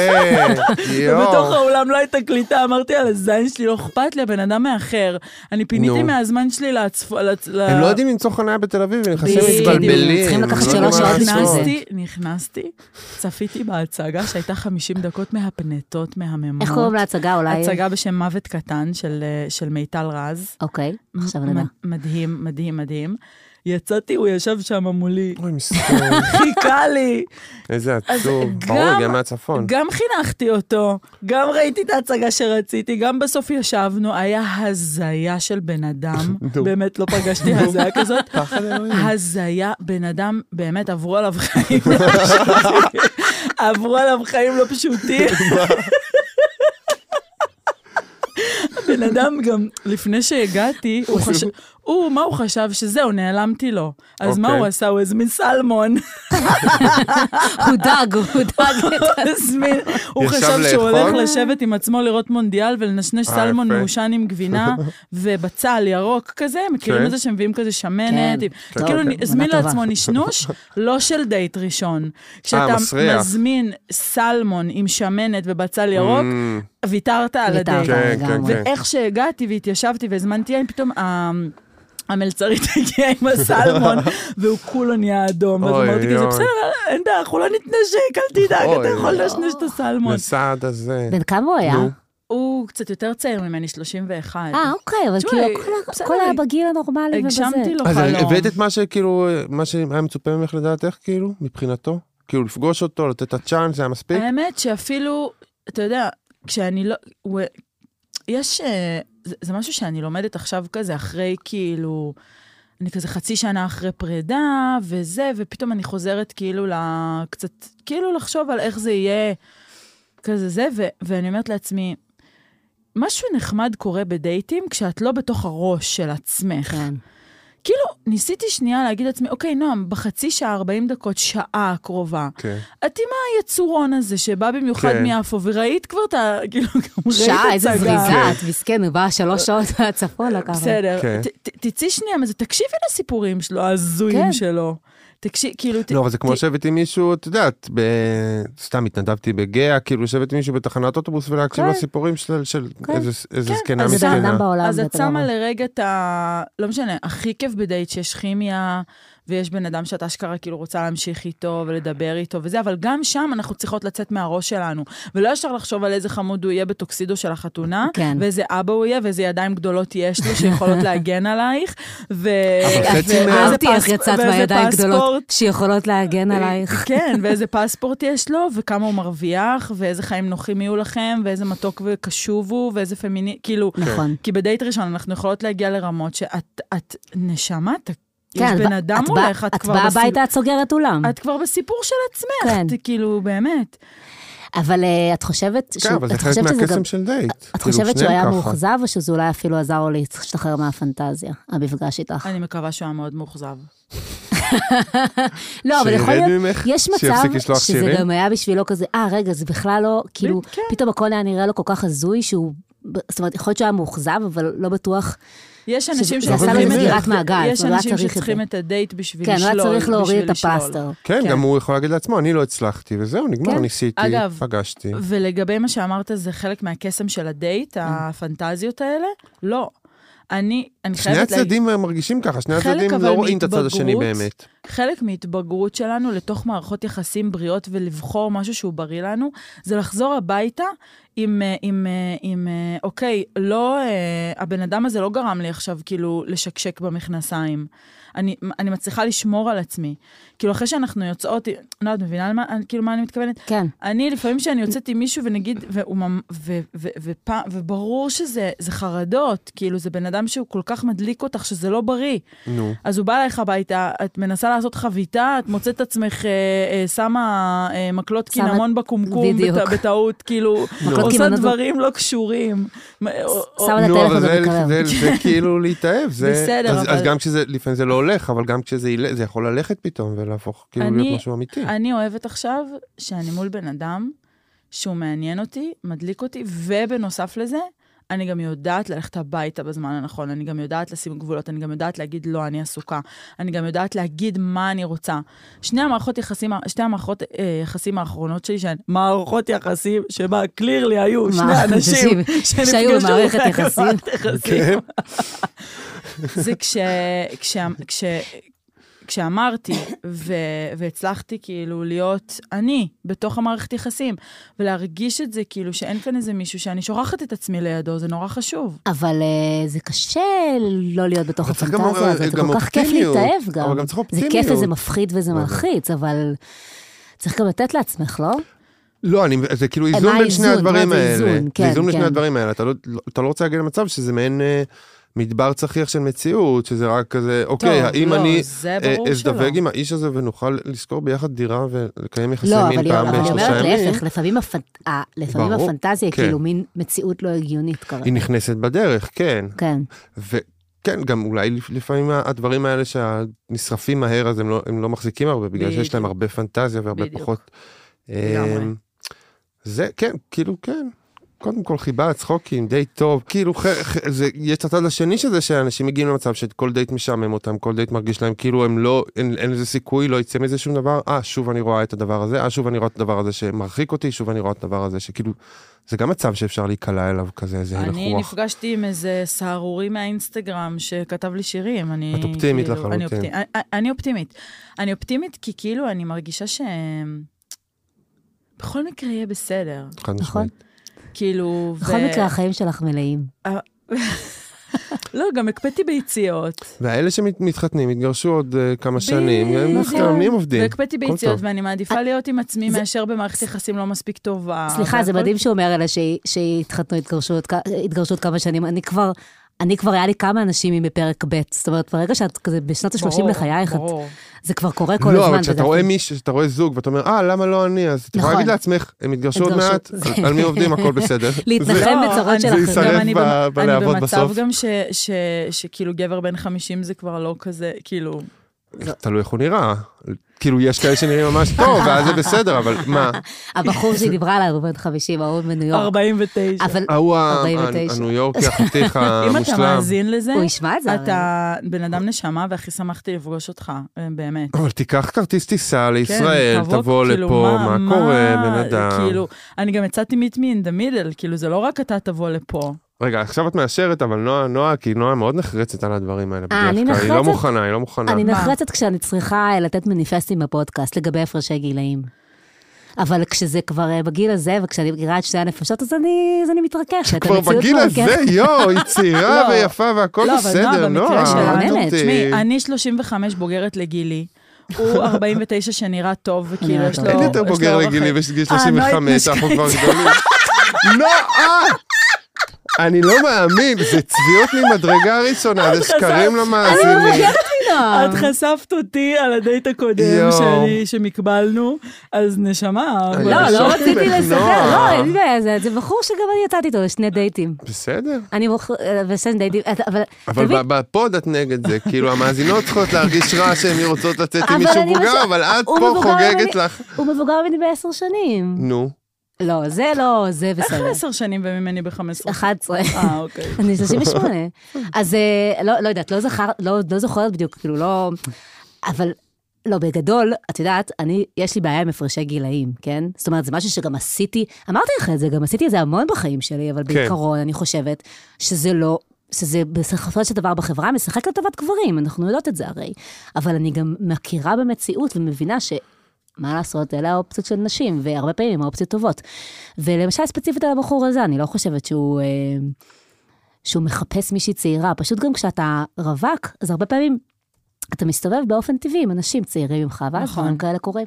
ובתוך יואו. האולם לא הייתה קליטה, אמרתי על הזין שלי, לא אכפת לי, הבן אדם מאחר. אני פיניתי נו. מהזמן שלי לצפ... לצ... הם לא יודעים למצוא חניה בתל אביב, הם נכנסים בדיוק. מתבלבלים. צריכים לקחת הם לא יודעים שלוש מה שעות בשביל לעשות. זה. נכנסתי, נכנסתי, צפיתי בהצגה שהייתה 50 דקות מהפנטות, מהממות. איך קוראים להצגה אולי? הצגה בשם מוות קטן של, אה, של מיטל רז. אוקיי, עכשיו נדע. מ- מדהים, מדהים, מדהים. יצאתי, הוא ישב שם מולי, אוי, מסכן, חיכה לי. איזה עצוב. גם- ברור, גם מהצפון. גם חינכתי אותו, גם ראיתי את ההצגה שרציתי, גם בסוף ישבנו, היה הזיה של בן אדם, נו. באמת לא פגשתי הזיה כזאת. הזיה, בן אדם, באמת עברו עליו חיים, לא פשוטים. עברו עליו חיים לא פשוטים. בן אדם גם, לפני שהגעתי, הוא חשב, הוא, מה הוא חשב? שזהו, נעלמתי לו. אז מה אוקיי. הוא עשה? הוא הזמין סלמון. הוא דג, הוא דג. הזמין, הוא ישב חשב שהוא לאכול? הולך לשבת עם עצמו לראות מונדיאל ולנשנש אה, סלמון יפה. מעושן עם גבינה ובצל ירוק כזה, מכירים כן. את זה שמביאים כזה כן, שמנת, עם- טוב, כאילו כן. הזמין מנה טובה. לעצמו נשנוש, לא של דייט ראשון. כשאתה אה, מסריח. מזמין סלמון עם שמנת ובצל אוקיי. ירוק, Mm, ויתרת על ויתרת. הדייט. כן, כן, לגמרי. כן. ואיך שהגעתי והתיישבתי והזמנתי יין, פתאום ה- המלצרית הגיעה עם הסלמון, והוא כולו נהיה אדום. ואז אוי, אמרתי כזה, אוי. בסדר, אין דעה, אנחנו לא נתנשק, אל תדאג, אתה אוי, יכול לנשנש את הסלמון. לסעד הזה. בן כמה הוא היה? כן. נו. הוא קצת יותר צעיר ממני, 31. אה, אוקיי, אבל תשמעי, כאילו, כל ה- בסדר. הכל היה בגיל אוקיי, הנורמלי ובזה. הגשמתי לו אז חלום. הבאת את מה שכאילו, מה שהיה מצופה ממך לדעתך, כאילו, מבחינתו? כאילו, לפגוש אותו, לתת את הצ'אנס, זה היה מספיק? אה, האמת שאפילו, אתה יודע, כשאני לא... הוא- יש... אה, זה- זה משהו שאני לומדת עכשיו כזה, אחרי כאילו... אני כזה חצי שנה אחרי פרידה וזה, ופתאום אני חוזרת כאילו ל... קצת... כאילו לחשוב על איך זה יהיה כזה זה, ו- ואני אומרת לעצמי, משהו נחמד קורה בדייטים כשאת לא בתוך הראש של עצמך. כן. כאילו, ניסיתי שנייה להגיד לעצמי, אוקיי, נועם, בחצי שעה, 40 דקות, שעה הקרובה, כן. את עם היצורון הזה שבא במיוחד כן. מיפו, וראית כבר את ה... כאילו, גם ראית שעה, איזה הצגה. זריזה, את מסכן, הוא בא שלוש שעות מהצפון לקחת. בסדר. כן. ת- ת- תצאי שנייה מזה, תקשיבי לסיפורים שלו, ההזויים כן. שלו. תקשיב, כאילו... ת- לא, אבל זה כמו ת- לשבת עם מישהו, את יודעת, ב- סתם התנדבתי בגאה, כאילו לשבת עם מישהו בתחנת אוטובוס ולהקשיב כן. לסיפורים של של כן. איזה- איזה זקנה אז איזה בן אדם מסכנה. בעולם. לא אז את ואתה יודע שמה מה. לרגע את ה... לא משנה, הכי כיף בדייט שיש כימיה, ויש בן אדם שאת אשכרה כאילו רוצה להמשיך איתו ולדבר איתו וזה, אבל גם שם אנחנו צריכות לצאת מהראש שלנו. ולא ישר לחשוב על איזה חמוד הוא יהיה בטוקסידו של החתונה, כן. ואיזה אבא הוא יהיה, ואיזה ידיים גדולות יש לו שיכולות להגן עלייך, ו... אבל חצי ו- מה- ואיזה אהבתי איך פס- יצאת ואיזה מהידיים גדולות פספורט. שיכולות להגן עלייך. כן, ואיזה פספורט יש לו, וכמה הוא מרוויח, ואיזה חיים נוחים יהיו לכם, ואיזה מתוק וקשוב הוא, ואיזה פמיני... כאילו, נכון. כי בדייט ראשון אנחנו יכולות להגיע לרמות שאת את נשמה, ת, יש כן, את בן בא- אדם את בא- מולך, את את כבר באה בסי- הביתה, את סוגרת אולם. את כבר בסיפור של עצמך, כן. את כאילו, באמת. אבל אה, את חושבת כן, שהוא- אבל זה את חלק חושבת שזה מהקסם גם- של דייט. את כאילו, חושבת שהוא שניהם היה ככה. מאוכזב, או שזה אולי אפילו עזר לו להשתחרר מהפנטזיה, המפגש איתך? אני מקווה שהוא היה מאוד מאוכזב. לא, אבל שירד יכול להיות, ממך? יש מצב שיפסיק לשלוח שזה שירים? גם היה בשבילו כזה, אה, רגע, זה בכלל לא, כאילו, כן. פתאום הכל היה נראה לו כל כך הזוי, שהוא, זאת אומרת, יכול להיות שהוא היה מאוכזב, אבל לא בטוח. יש אנשים שזה- זה סתם שצריכים את סגירת הדייט- מעגל, יש הוא לא היה אנשים צריך את זה. שצריכים את הדייט בשביל כן, לשלול. הוא היה צריך להוריד את בשביל לשלול. הפלסטר. כן, כן. גם הוא יכול להגיד לעצמו, אני לא הצלחתי, וזהו, נגמר, כן. ניסיתי, אגב, פגשתי. ולגבי מה שאמרת, זה חלק מהקסם של כן. הדייט, הפנטזיות האלה? לא. אני, אני שני חייבת להגיד... הצדדים מרגישים ככה, שני חלק הצדדים אבל לא רואים את הצד השני מהתבגרות, באמת. חלק מהתבגרות שלנו לתוך מערכות יחסים בריאות ולבחור משהו שהוא בריא לנו, זה לחזור הביתה עם, אה, עם, אה, עם אה, אוקיי, לא, אה, הבן אדם הזה לא גרם לי עכשיו כאילו לשקשק במכנסיים. אני, אני מצליחה לשמור על עצמי. כאילו, אחרי שאנחנו יוצאות, לא, את מבינה למה, כאילו, מה אני מתכוונת? כן. אני, לפעמים כשאני יוצאת עם מישהו ונגיד, והוא ממ- ו- ו- ופע- וברור שזה זה חרדות, כאילו, זה בן אדם שהוא כל כך מדליק אותך, שזה לא בריא. נו. אז הוא בא אלייך הביתה, את מנסה לעשות חביתה, את מוצאת את עצמך אה, אה, שמה אה, מקלות שמה- קינמון בקומקום בדיוק. בת, בטעות, כאילו, מקלות עושה קינמון ב- דברים לא קשורים. מ- או- או- שמה את נו, אבל הטלפון זה- במקרר. זה- זה כאילו להתאהב, זה... בסדר, אז- אז אבל- גם כשזה, לפעמים זה לא הולך, אבל גם כשזה ילך, זה יכול ללכת פתאום ולהפוך, כאילו אני- להיות משהו אמיתי. אני אוהבת עכשיו שאני מול בן אדם שהוא מעניין אותי, מדליק אותי, ובנוסף לזה, אני גם יודעת ללכת הביתה בזמן הנכון, אני גם יודעת לשים גבולות, אני גם יודעת להגיד לא, אני עסוקה, אני גם יודעת להגיד מה אני רוצה. שני המערכות יחסים, שתי המערכות אה, יחסים האחרונות שלי, שהן מערכות יחסים שבה clearly היו שני מערכת אנשים יחסים שנפגשו שהיו במערכת והיו יחסים. אוקיי. במערכת כן? יחסים. זה כש... כש... כש... כשאמרתי ו... והצלחתי כאילו להיות אני בתוך המערכת יחסים, ולהרגיש את זה כאילו שאין כאן איזה מישהו שאני שוכחת את עצמי לידו, זה נורא חשוב. אבל אה, זה קשה לא להיות בתוך אבל צריך גם- אה, הפנטזיה הזאת, זה גם כל כך כיף אופטימיות, להתאהב גם. אבל גם צריך זה כיף אופטימיות. לא וזה מפחיד וזה מלחיץ, אבל צריך גם לתת לעצמך, לא? לא, אני, זה אה, כאילו מה איזון בין האיזון? שני הדברים מה זה האלה. איזון? כן, זה איזון בין כן. שני הדברים האלה. אתה לא- לא- אתה לא רוצה להגיע למצב שזה מעין אה, מדבר צחיח של מציאות, שזה רק כזה, אוקיי, האם לא, אני זה אה, ברור אזדווג שלא. עם... עם האיש הזה ונוכל לשכור ביחד דירה ולקיים יחסי לא, אבל מין היא פעם אבל היא בשלושה אומרת ימים? להפך, לפעמים הפנט- אה, לפעמים ברור, הפנטזיה היא כן. כאילו מין מציאות לא הגיונית כרגע. היא נכנסת בדרך, כן. כן. וכן, גם אולי לפ- לפעמים הדברים האלה שנשרפים מהר, אז הם לא, הם לא מחזיקים הרבה, בגלל שיש להם בדיוק. הרבה פנטזיה והרבה בדיוק. פחות. לגמרי. אמ, זה, כן, כאילו, כן. קודם כל חיבה, צחוקים, דייט טוב, כאילו, ח, ח, זה, יש את הצד השני של זה, שאנשים מגיעים למצב שכל דייט משעמם אותם, כל דייט מרגיש להם כאילו הם לא, אין, אין לזה סיכוי, לא יצא מזה שום דבר, אה, שוב אני רואה את הדבר הזה, אה, שוב אני רואה את הדבר הזה שמרחיק אותי, שוב אני רואה את הדבר הזה שכאילו, זה גם מצב שאפשר להיקלע אליו כזה, איזה הלך אני רוח. נפגשתי עם איזה סהרורי מהאינסטגרם שכתב לי שירים. אני, את אופטימית כאילו, אני, לחלוטין. אופטימ- אני- אני אופטימית. אני אופטימית כי כאילו אני מרגישה ש... בכל מקרה יהיה בסדר. חד נכון. משמעית. כאילו... ו- בכל מקרה, החיים שלך מלאים. לא, גם הקפאתי ביציאות. והאלה שמתחתנים יתגרשו עוד אה, כמה שנים, בדיוק. הם מתכוונים עובדים. והקפאתי הכל ביציאות, טוב. ואני מעדיפה להיות עם עצמי נכון. אה, זה- מאשר במערכת יחסים לא מספיק טובה. סליחה, זה והכל- מדהים שהוא אומר אלה שה- שהתחתנו, התגרשו עוד כ- התגרשו עוד כמה שנים. אני כבר, אני כבר, היה לי כמה אנשים מפרק ב'. זאת אומרת, ברגע שאת כזה בשנות ה-30 ברור, לחייך, את- ברור. זה כבר קורה כל הזמן. לא, אבל וזה- כשאתה רואה מישהו, כשאתה רואה זוג ואתה אומר, אה, למה לא אני? אז אתה יכול נכון. להגיד לעצמך, הם יתגרשו עוד התגרשו. מעט, על- על מי עובדים, הכל בסדר. להתנחם. זה- לכם בצרות לא, אני- שלכם. גם זה יישרף אני ב- במ- בלהבות אני במצב בסוף. גם ש- ש- שכאילו גבר בן 50 זה כבר לא כזה, כאילו... תלוי איך הוא נראה. כאילו, יש כאלה שנראים ממש טוב, ואז זה בסדר, אבל מה? הבחור שהיא דיברה עליו הוא בן 50, ההוא בניו יורק. 49. אבל ההוא ה- 49. הניו יורקי, החתיך אם אתה המושלם. מאזין לזה, הוא אה. ישמע את זה. הרי. אתה בן אדם נשמה, והכי שמחתי לפגוש אותך, אה, באמת. אבל תיקח כרטיס טיסה לישראל, תבוא, אה, תבוא כאילו, לפה, מה קורה, בן אדם. כאילו, אני גם יצאתי meet me in the middle, כאילו, זה לא רק אתה תבוא לפה. רגע, עכשיו את מאשרת, אבל נועה, נועה, כי נועה מאוד נחרצת על הדברים האלה. אה, בדרך אני כלל. היא לא נחרצת? מוכנה, היא לא מוכנה. אני מה? נחרצת כשאני צריכה אה, לתת מניפסטים בפודקאסט לגבי הפרשי גילאים. אבל כשזה כבר אה, בגיל הזה, וכשאני מכירה את שתי הנפשות, אז אני, אז אני מתרככת. כבר המציאות כן- בגיל הזה, מורכבת. יואו, היא לא. צעירה ויפה והכל לא, אבל בסדר, נועה, במקרה נועה. שלנו, אל באמת, תותי. תשמעי, אני 35 בוגרת לגילי. הוא 49 שנראה טוב, וכאילו נראה יש טוב. לו... אין יותר לא- יש לו בוגר אורך לגילי חיים. בגיל אה, נועה 35, אנחנו כבר התנשקת. גדולים. נועה! אני לא מאמין, זה צביעות ממדרגה ראשונה, זה שקרים אני למאזינים. מבוגרת גם. את חשפת אותי על הדייט הקודם יואו. שאני- שמקבלנו, אז נשמה. אני אבל- לא, לא ישבתי רציתי בנוח. לספר, לא, אין לי בעיה, זה- זה בחור שגם אני יצאתי איתו לשני דייטים. בסדר. אני בוחר, ושני דייטים, אה, אבל, אבל תבין, ב- בפוד את נגד זה, כאילו המאזינות צריכות להרגיש רע שהן רוצות לצאת עם אבל מישהו אני מבוגר, משל- אבל את הוא פה מבוגר חוגגת ממני- לך. הוא מבוגר ממני בעשר שנים. נו, לא, זה לא, זה בסדר. עשר שנים וממני בחמש עשרה. 11. אה, אוקיי. אני 38. אז אה, לא לא יודעת, לא זכר- לא- לא זוכרת בדיוק, כאילו לא... אבל... לא, בגדול, את יודעת, אני, יש לי בעיה עם הפרשי גילאים, כן? זאת אומרת, זה משהו שגם עשיתי, אמרתי לך את זה, גם עשיתי את זה המון בחיים שלי, אבל בעיקרון, אני חושבת שזה לא, שזה בסופו של דבר בחברה משחק לטובת גברים, אנחנו יודעות את זה הרי. אבל אני גם מכירה במציאות ומבינה ש... מה לעשות, אלה האופציות של נשים, והרבה פעמים האופציות טובות. ולמשל, ספציפית על הבחור הזה, אני לא חושבת שהוא... אה, שהוא מחפש מישהי צעירה. פשוט גם כשאתה רווק, אז הרבה פעמים אתה מסתובב באופן טבעי עם אנשים צעירים ממך, ואז נכון. דברים כאלה קורים.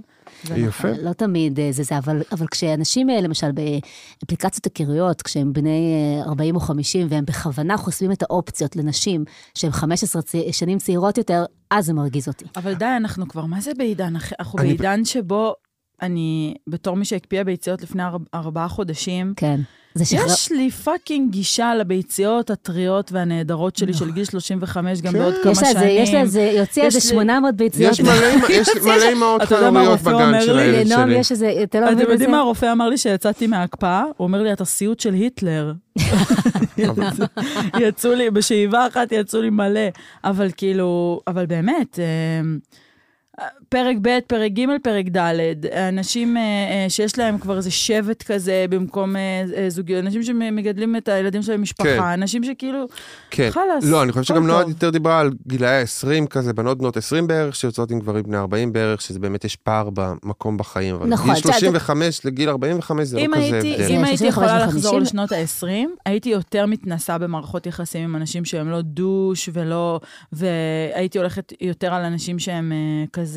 יפה. לא תמיד אה, זה זה, אבל, אבל כשאנשים, אה, למשל, באפליקציות היכרויות, כשהם בני אה, 40 או 50, והם בכוונה חוסמים את האופציות לנשים שהן 15 צע- שנים צעירות יותר, אז זה מרגיז אותי. אבל די, אנחנו כבר, מה זה בעידן? אחי? אנחנו אני- בעידן שבו אני, בתור מי שהקפיאה ביציות לפני ארבע- ארבעה חודשים, כן. זה שחרר... יש לי פאקינג גישה לביציות הטריות והנהדרות שלי של גיל 35, גם כן. בעוד כמה אה, יש לה איזה, שנים. יש לה איזה, יוציא יש איזה לי- 800 ביציות. יש מלא אמא- יש מלא אמהות אתה יודע מה חלומיות הרופא אומר בגן לי? של הילד לנועם שלי. יש איזה, אתה לא מבין את זה? אתם יודעים מה הרופא אמר לי שיצאתי מההקפאה? הוא אומר לי, אתה סיוט של היטלר. יצאו לי, בשאיבה אחת יצאו לי מלא. אבל כאילו, אבל באמת, אה, פרק ב', פרק ג', פרק ד', אנשים אה, אה, שיש להם כבר איזה שבט כזה במקום אה, אה, זוגיות, אנשים שמגדלים את הילדים שלהם במשפחה, אנשים שכאילו, כן. חלאס, אוקיי. לא, אני חושב הכל שגם נועה טוב. יותר דיברה על גילאי ה-20 כזה, בנות בנות 20 בערך, שיוצאות עם גברים בני 40 בערך, שזה באמת יש פער במקום בחיים. אבל נכון, גיל שאלת- 35 לגיל 45 זה לא אם כזה הייתי, הבדל. אם זה הייתי 35 יכולה ו- לחזור 50. לשנות ה-20, הייתי יותר מתנסה במערכות יחסים עם אנשים שהם לא דוש ולא... והייתי הולכת יותר על אנשים שהם אה, כזה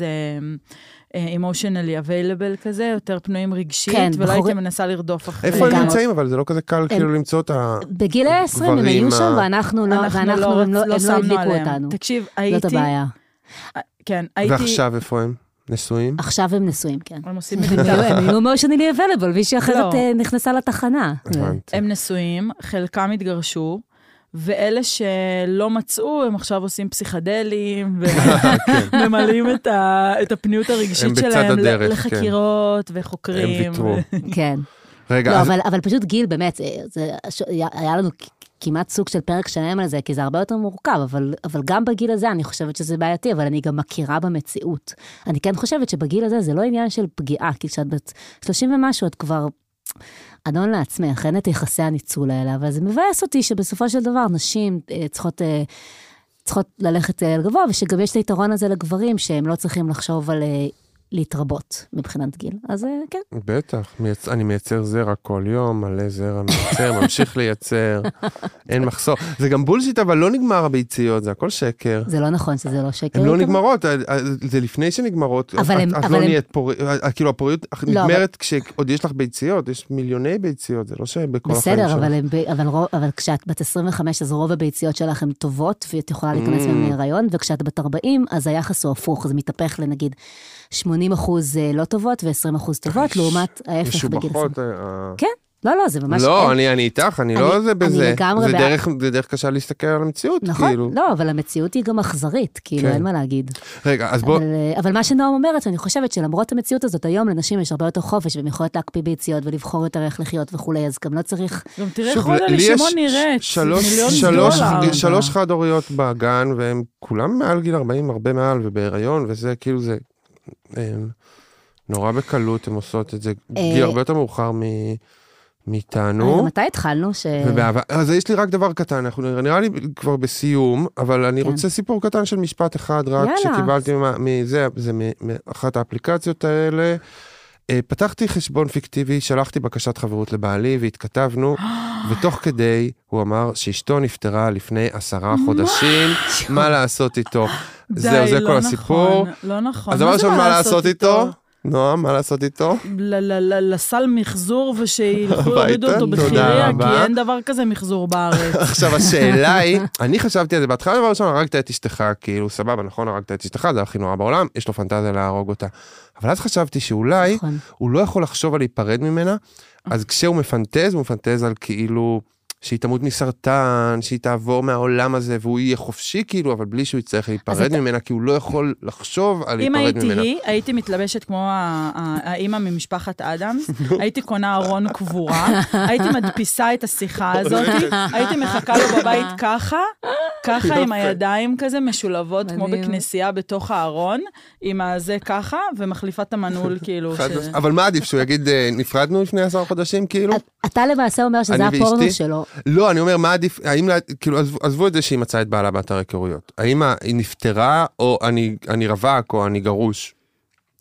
אימושנלי אביילבל כזה, יותר פנויים רגשית, כן, ולא בחורי- הייתי מנסה לרדוף אחרי... איפה הם לגמרי. נמצאים? אבל זה לא כזה קל כאילו למצוא את ה... בגיל ה-20 הם גברים, היו שם, אה, ואנחנו לא, אנחנו ואנחנו, לא- הם לא, לא הם לא שמנו הדליקו עליהם. אותנו. תקשיב, זאת הייתי... הבעיה. כן, הייתי... ועכשיו איפה הם? נשואים? עכשיו הם נשואים, כן. הם עושים הם מדיטציה. היו- הם היו מושנלי אבלבל, מישהי אחרת לא. אה, נכנסה לתחנה. הבנתי. הם נשואים, חלקם התגרשו, ואלה שלא מצאו, הם עכשיו עושים פסיכדלים, וממלאים את, ה... את הפניות כן. הם הרגשית בצד שלהם ל- הדרך, כן. לחקירות וחוקרים. הם ויתרו. כן. רגע, לא, אז אבל, אבל פשוט גיל, באמת, זה, זה, היה- היה לנו כ- כמעט סוג של פרק שלם על זה, כי זה הרבה יותר מורכב, אבל, אבל גם בגיל הזה אני חושבת שזה בעייתי, אבל אני גם מכירה במציאות. אני כן חושבת שבגיל הזה זה לא עניין של פגיעה, כי כשאת בת 30 ומשהו, את כבר... אדון לעצמך, אין את יחסי הניצול האלה, אבל זה מבאס אותי שבסופו של דבר נשים אה, צריכות, אה, צריכות ללכת אה, לגבוה, ושגם יש את היתרון הזה לגברים, שהם לא צריכים לחשוב על אה, להתרבות מבחינת גיל. אז אה, כן, בטח, מייצ... אני מייצר זרע כל יום, מלא זרע מייצר, ממשיך לייצר, אין מחסור. זה גם בולשיט, אבל לא נגמר הביציות, זה הכל שקר. זה לא נכון שזה לא שקר. הן לא איתמר. נגמרות, אה, אה, זה לפני שנגמרות. אבל את- הם- את אבל לא הם- נהיית פוריות, כאילו הפוריות אך- לא, אבל- נגמרת כשעוד יש לך ביציות, יש מיליוני ביציות, זה לא שבכל החיים בסדר, אבל, שלך. הם, ב- אבל, רוב, אבל כשאת בת 25, אז רוב הביציות שלך הן טובות, ואת יכולה להיכנס Mm. מהן להיריון, וכשאת בת 40, אז היחס הוא הפוך, זה מתהפך לנגיד 80 אחוז לא טובות ו-20 אחוז טובות, יש- לעומת ההפך בגיל עשרים. משובחות. אה, כן, לא, לא, זה ממש... לא, אין- אני אני איתך, אני אני- לא זה אני בזה. לגמרי זה בעד. דרך- זה דרך קשה להסתכל על המציאות, נכון, כאילו. לא, אבל המציאות היא גם אכזרית, כאילו, כן. אין מה להגיד. רגע, אז בוא, אבל, אה, אבל מה שנועם אומרת, אני חושבת שלמרות המציאות הזאת, היום לנשים יש הרבה יותר חופש, והן יכולות להקפיא ביציות ולבחור יותר איך לחיות וכולי, אז גם לא צריך... גם תראה איך שוב, חולה לי יש לשמון נראית. שלוש, מיליון שלוש, דולר. שלוש חד הוריות בגן, והם כולם מעל גיל 40, הרבה מעל, ובהיריון, וזה כאילו זה... הם, נורא בקלות הן עושות את זה, אה, גיל הרבה יותר מאוחר מ, רגע, מאיתנו. אה, מתי התחלנו? ש... ובאהבה, אז יש לי רק דבר קטן, אנחנו נראה לי כבר בסיום, אבל אני כן. רוצה סיפור קטן של משפט אחד רק, יאללה. שקיבלתי מה- מזה, זה מ- מאחת האפליקציות האלה. אה, פתחתי חשבון פיקטיבי, שלחתי בקשת חברות לבעלי והתכתבנו, ותוך כדי הוא אמר שאשתו נפטרה לפני עשרה חודשים, מה לעשות איתו? די, זהו, לא זה כל נכון, הסיפור. לא נכון. אז דבר זה ראשון, מה לעשות איתו? נועם, מה לעשות איתו? ל- ל- ל- לסל מחזור ושילכו הביתה, להורידו אותו תודה בחיריה, רבה. כי אין דבר כזה מחזור בארץ. עכשיו, השאלה היא, אני חשבתי על זה בהתחלה, דבר ראשון, הרגת את אשתך, כאילו, סבבה, נכון, הרגת את אשתך, זה הכי נורא בעולם, יש לו פנטזיה להרוג אותה. אבל אז חשבתי שאולי נכון. הוא לא יכול לחשוב על להיפרד ממנה, אז כשהוא מפנטז, הוא מפנטז על כאילו, שהיא תמות מסרטן, שהיא תעבור מהעולם הזה, והוא יהיה חופשי, כאילו, אבל בלי שהוא יצטרך להיפרד אתה- ממנה, כי הוא לא יכול לחשוב על אם להיפרד הייתי ממנה. היא, הייתי מתלבשת כמו ה- ה- האימא ממשפחת אדמס, הייתי קונה ארון קבורה, הייתי מדפיסה את השיחה הזאת, אוקיי. הייתי מחכה לו בבית ככה, ככה עם הידיים כזה משולבות כמו מדהים. בכנסייה בתוך הארון, עם הזה ככה, ומחליפה את המנעול כאילו. חד ש- מש- אבל מה עדיף, שהוא יגיד, "אה, נפרדנו לפני עשרה חודשים, כאילו? אתה למעשה אומר שזה אני הפורנו ואשתי? שלו. לא, אני אומר, מה עדיף, האם, לה- כאילו, עזבו, עזבו את זה שהיא מצאה את בעלה באתר היכרויות. האם ה- היא נפטרה, או אני, אני רווק, או אני גרוש?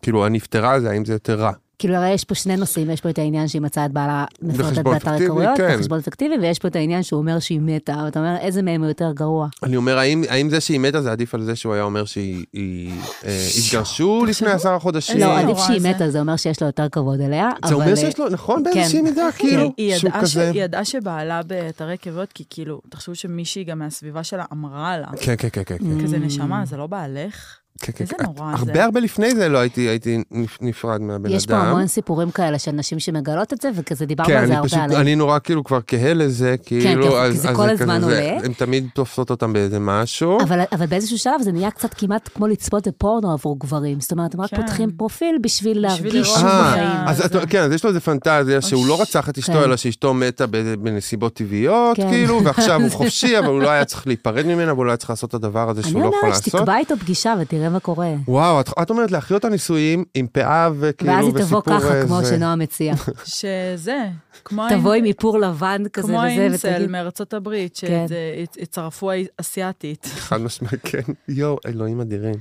כאילו, הנפטרה זה, האם זה יותר רע? כאילו, הרי יש פה שני נושאים, יש פה את העניין שהיא מצאה את בעלה מפרטת בחשבון באתר פיקטיבי, הכרויות, כן. בחשבון פיקטיבי, ויש פה את העניין שהוא אומר שהיא מתה, ואתה אומר, איזה מהם הוא יותר גרוע? אני אומר, האם, האם זה שהיא מתה זה עדיף על זה שהוא היה אומר שהיא... היא, אה, התגרשו לפני עשרה חודשים? לא, נורא עדיף שהיא כן. זה. מתה, זה אומר שיש לו יותר כבוד אליה, זה אבל, אומר שיש אה, לו, נכון, כן. באיזושהי מידה, כאילו, היא שהוא ידעה, ש... כזה... היא ידעה שבעלה באתרי כבוד, כי כאילו, תחשבו שמישהי גם מהסביבה שלה אמרה לה, כן, כן, כן, כן. כן. כזה נשמה, זה לא בעלך? כן, כן, איזה כן. נורא זה. הרבה הרבה לפני זה לא הייתי, הייתי נפ- נפרד מהבן אדם. יש פה המון סיפורים כאלה של נשים שמגלות את זה, וכזה דיברנו כן, על זה אני הרבה פשוט, עליהם. כן, אני נורא כאילו כבר כהה לזה, כאילו, כי אז- זה אז כל הזמן כזה, זה- עולה. הם תמיד תופסות אותם באיזה משהו. אבל, אבל באיזשהו שלב זה נהיה קצת כמעט כמו לצפות בפורנו עבור גברים. זאת אומרת, הם רק כן. פותחים פרופיל בשביל להרגיש לראות. שהוא אה, בחיים. אז את- כן, אז יש לו איזה פנטזיה שהוא לא רצח את כן. אשתו, אלא שאשתו מתה באיזה- בנסיבות טבעיות, כן. כאילו, ועכשיו הוא חופשי, אבל הוא לא היה צריך להיפרד ממנה, והוא לא היה צריך לעשות את הדבר הזה אני שהוא לא יכול אומרת לעשות. שתקבע איתו פגישה ותראה מה קורה. וואו, את- את אומרת להחיות הנישואים עם פאה וכאילו, ואז היא תבוא וסיפור ככה, כמו כאילו, איזה- שנועה מציע. שזה, כמו... תבוא האינ- עם איפור לבן כזה כמו וזה, האינסל ותגיד, מארצות הברית, כן. שהצטרפו אסיאתית. חד משמעית, כן. יואו, אלוהים אדירים.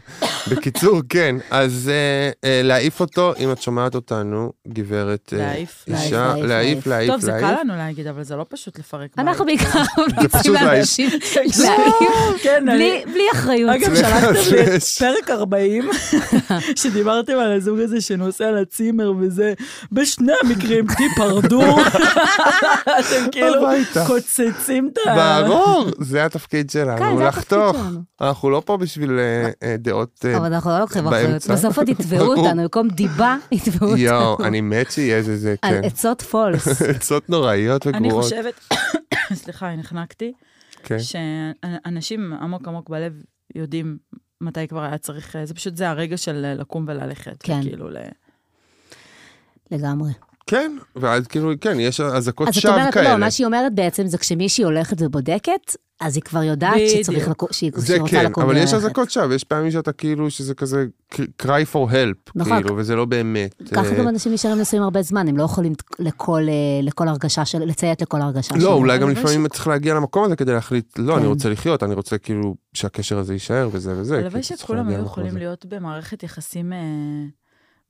בקיצור, כן, אז אה, אה, להעיף אותו, אם את שומעת אותנו, גברת אה, להעיף. להעיף, אישה, להעיף, להעיף, להעיף. להעיף, טוב, זה קל להעיף. לנו להגיד, אבל זה לא פשוט לפרק בית. אנחנו בעיקר ממליצים אוקיי. פשוט להעיף. לאנשים תקשיב, להעיף, כן, אני... בלי- בלי אחריות. אגב, שלחתם לי את יש. פרק 40, שדיברתם על הזוג הזה שנוסע לצימר וזה, בשני המקרים תיפרדו, אתם כאילו הביתה. קוצצים את ה... ברור, זה התפקיד כן, שלנו, זה התפקיד לחתוך. שלנו. אנחנו לא פה בשביל אה, אה, דעות אה, אבל אנחנו לא לוקחים אחריות. באמצע. בסוף עוד יתבעו ברור. אותנו, במקום דיבה יתבעו אותנו. יואו, אני מת שיהיה איזה זה, על כן. עצות פולס. עצות נוראיות אני וגרועות. חושבת, סליחה, נחנקתי, כן. שאנשים עמוק עמוק בלב יודעים מתי כבר היה צריך, זה פשוט, זה הרגע של לקום וללכת. כן. כאילו, ל- לגמרי. כן, ואז כאילו, כן, יש אזעקות אז את שווא אומרת, לא, כאלה. מה שהיא אומרת בעצם זה כשמישהי הולכת ובודקת, אז היא כבר יודעת שצריך בדיוק. לקום, שהיא זה שהיא רוצה כן, לקום אבל יש וללכת. אזעקות שווא, יש פעמים שאתה כאילו, שזה כזה cry for help, נכון. כאילו, וזה לא באמת. ככה אה, גם אנשים נשארים נשואים הרבה זמן, הם לא יכולים לכל, אה, לכל הרגשה של, לציית לכל הרגשה אה, לא, שלהם. אולי גם אבל יש- לפעמים צריך להגיע למקום הזה כדי להחליט, לא, אני כן. רוצה לחיות, אני רוצה כאילו שהקשר הזה יישאר וזה וזה. הלוואי כן, כי אתה צריך שכולם להגיע היו למקום יכולים הזה. להיות במערכת יחסים אה,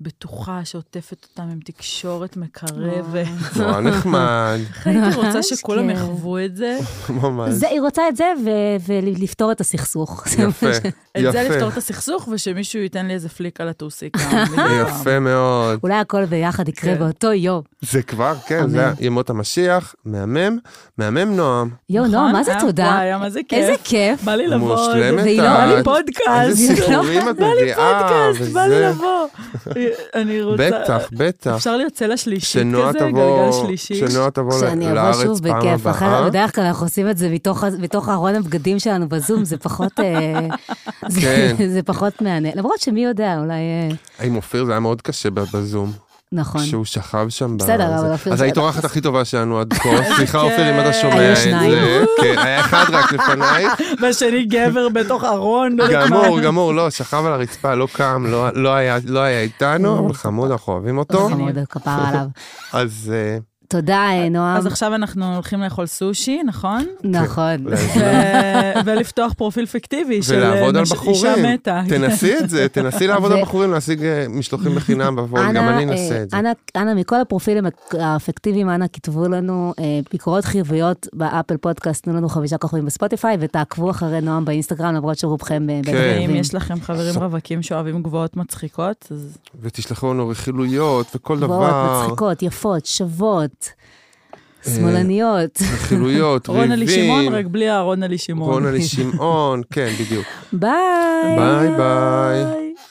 בטוחה, שעוטפת אותם עם תקשורת מקרבת. נורא נחמד, הייתי רוצה שכולם כן. יחוו את זה. ממש. זה, היא רוצה את זה ו- ולפתור את הסכסוך. זה יפה, מה ש- את זה לפתור יפה, את הסכסוך, ושמישהו ייתן לי איזה פליק על הטוסיק. יפה מאוד. אולי הכל ביחד יקרה כן. באותו יום. זה כבר, כן, זה אמן. ימות המשיח, מהמם, מהמם נועם. יואו, נועה, מה זה תודה? אה, וואי, נכון, היה מה זה כיף. איזה כיף. בא לי לבוא. מושלמת והיא לא- את. בא לי איזה פודקאסט. סיפורים את לא, בא לי מביאה, פודקאסט, בא לי וזה. לבוא. אני רוצה... בטח, בטח. אפשר להיות צלע שלישית שנועה כזה, תבוא, גלגל שלישי. שנועה תבוא שאני ל- אבוא לארץ שוב פעם בכיף, אחרת הבאה. בדרך כלל אנחנו עושים את זה מתוך ה- מתוך ארון הבגדים שלנו בזום, זה פחות, אה, זה- כן. זה פחות מהנה, למרות שמי יודע, אולי, אה, עם אופיר זה היה מאוד קשה ב- בזום, נכון. שהוא שכב שם. ב- בסדר, אבל זה. אופיר אז זה- לא כן, היית אורחת הכי טובה שלנו עד כה. סליחה אופיר אם אתה שומע היו את זה. שניים. כן, היה אחד רק לפנייך. והשני גבר בתוך ארון. לא יודעת מה. גמור, גמור, לא, שכב על הרצפה, לא קם, לא- נכון. לא היה- לא היה איתנו, אבל חמוד, אנחנו אוהבים אותו. חמוד, כפר עליו. אז אה, תודה, אה, נועם. אז עכשיו אנחנו הולכים לאכול סושי, נכון? כן, נכון. ו- ולפתוח פרופיל פיקטיבי של אה, ולעבוד על מש- בחורים. אישה מתה. תנסי את זה, תנסי לעבוד על ו- בחורים, להשיג אה, משלוחים בחינם בפועל, גם אנא, אני אה, אנסה את זה. אנא, אנא, מכל הפרופילים הק- האפקטיביים, אנא כתבו לנו אה, ביקורות חיוביות באפל פודקאסט, תנו לנו חמישה כוכבים בספוטיפיי, ותעקבו אחרי נועם באינסטגרם, למרות שרובכם אה, בטח כן. ואם אוהבים. יש לכם חברים רווקים שאוהבים גבוהות מצחיקות, אז ותשלחו לנו רכילויות וכל גבוהות, דבר. מצחיקות, יפות, שוות, אה, שמאלניות. רכילויות, רונלי שמעון, רק ריבים. בלי הרונלי שמעון. רונלי שמעון, כן, בדיוק. ביי. ביי ביי. ביי.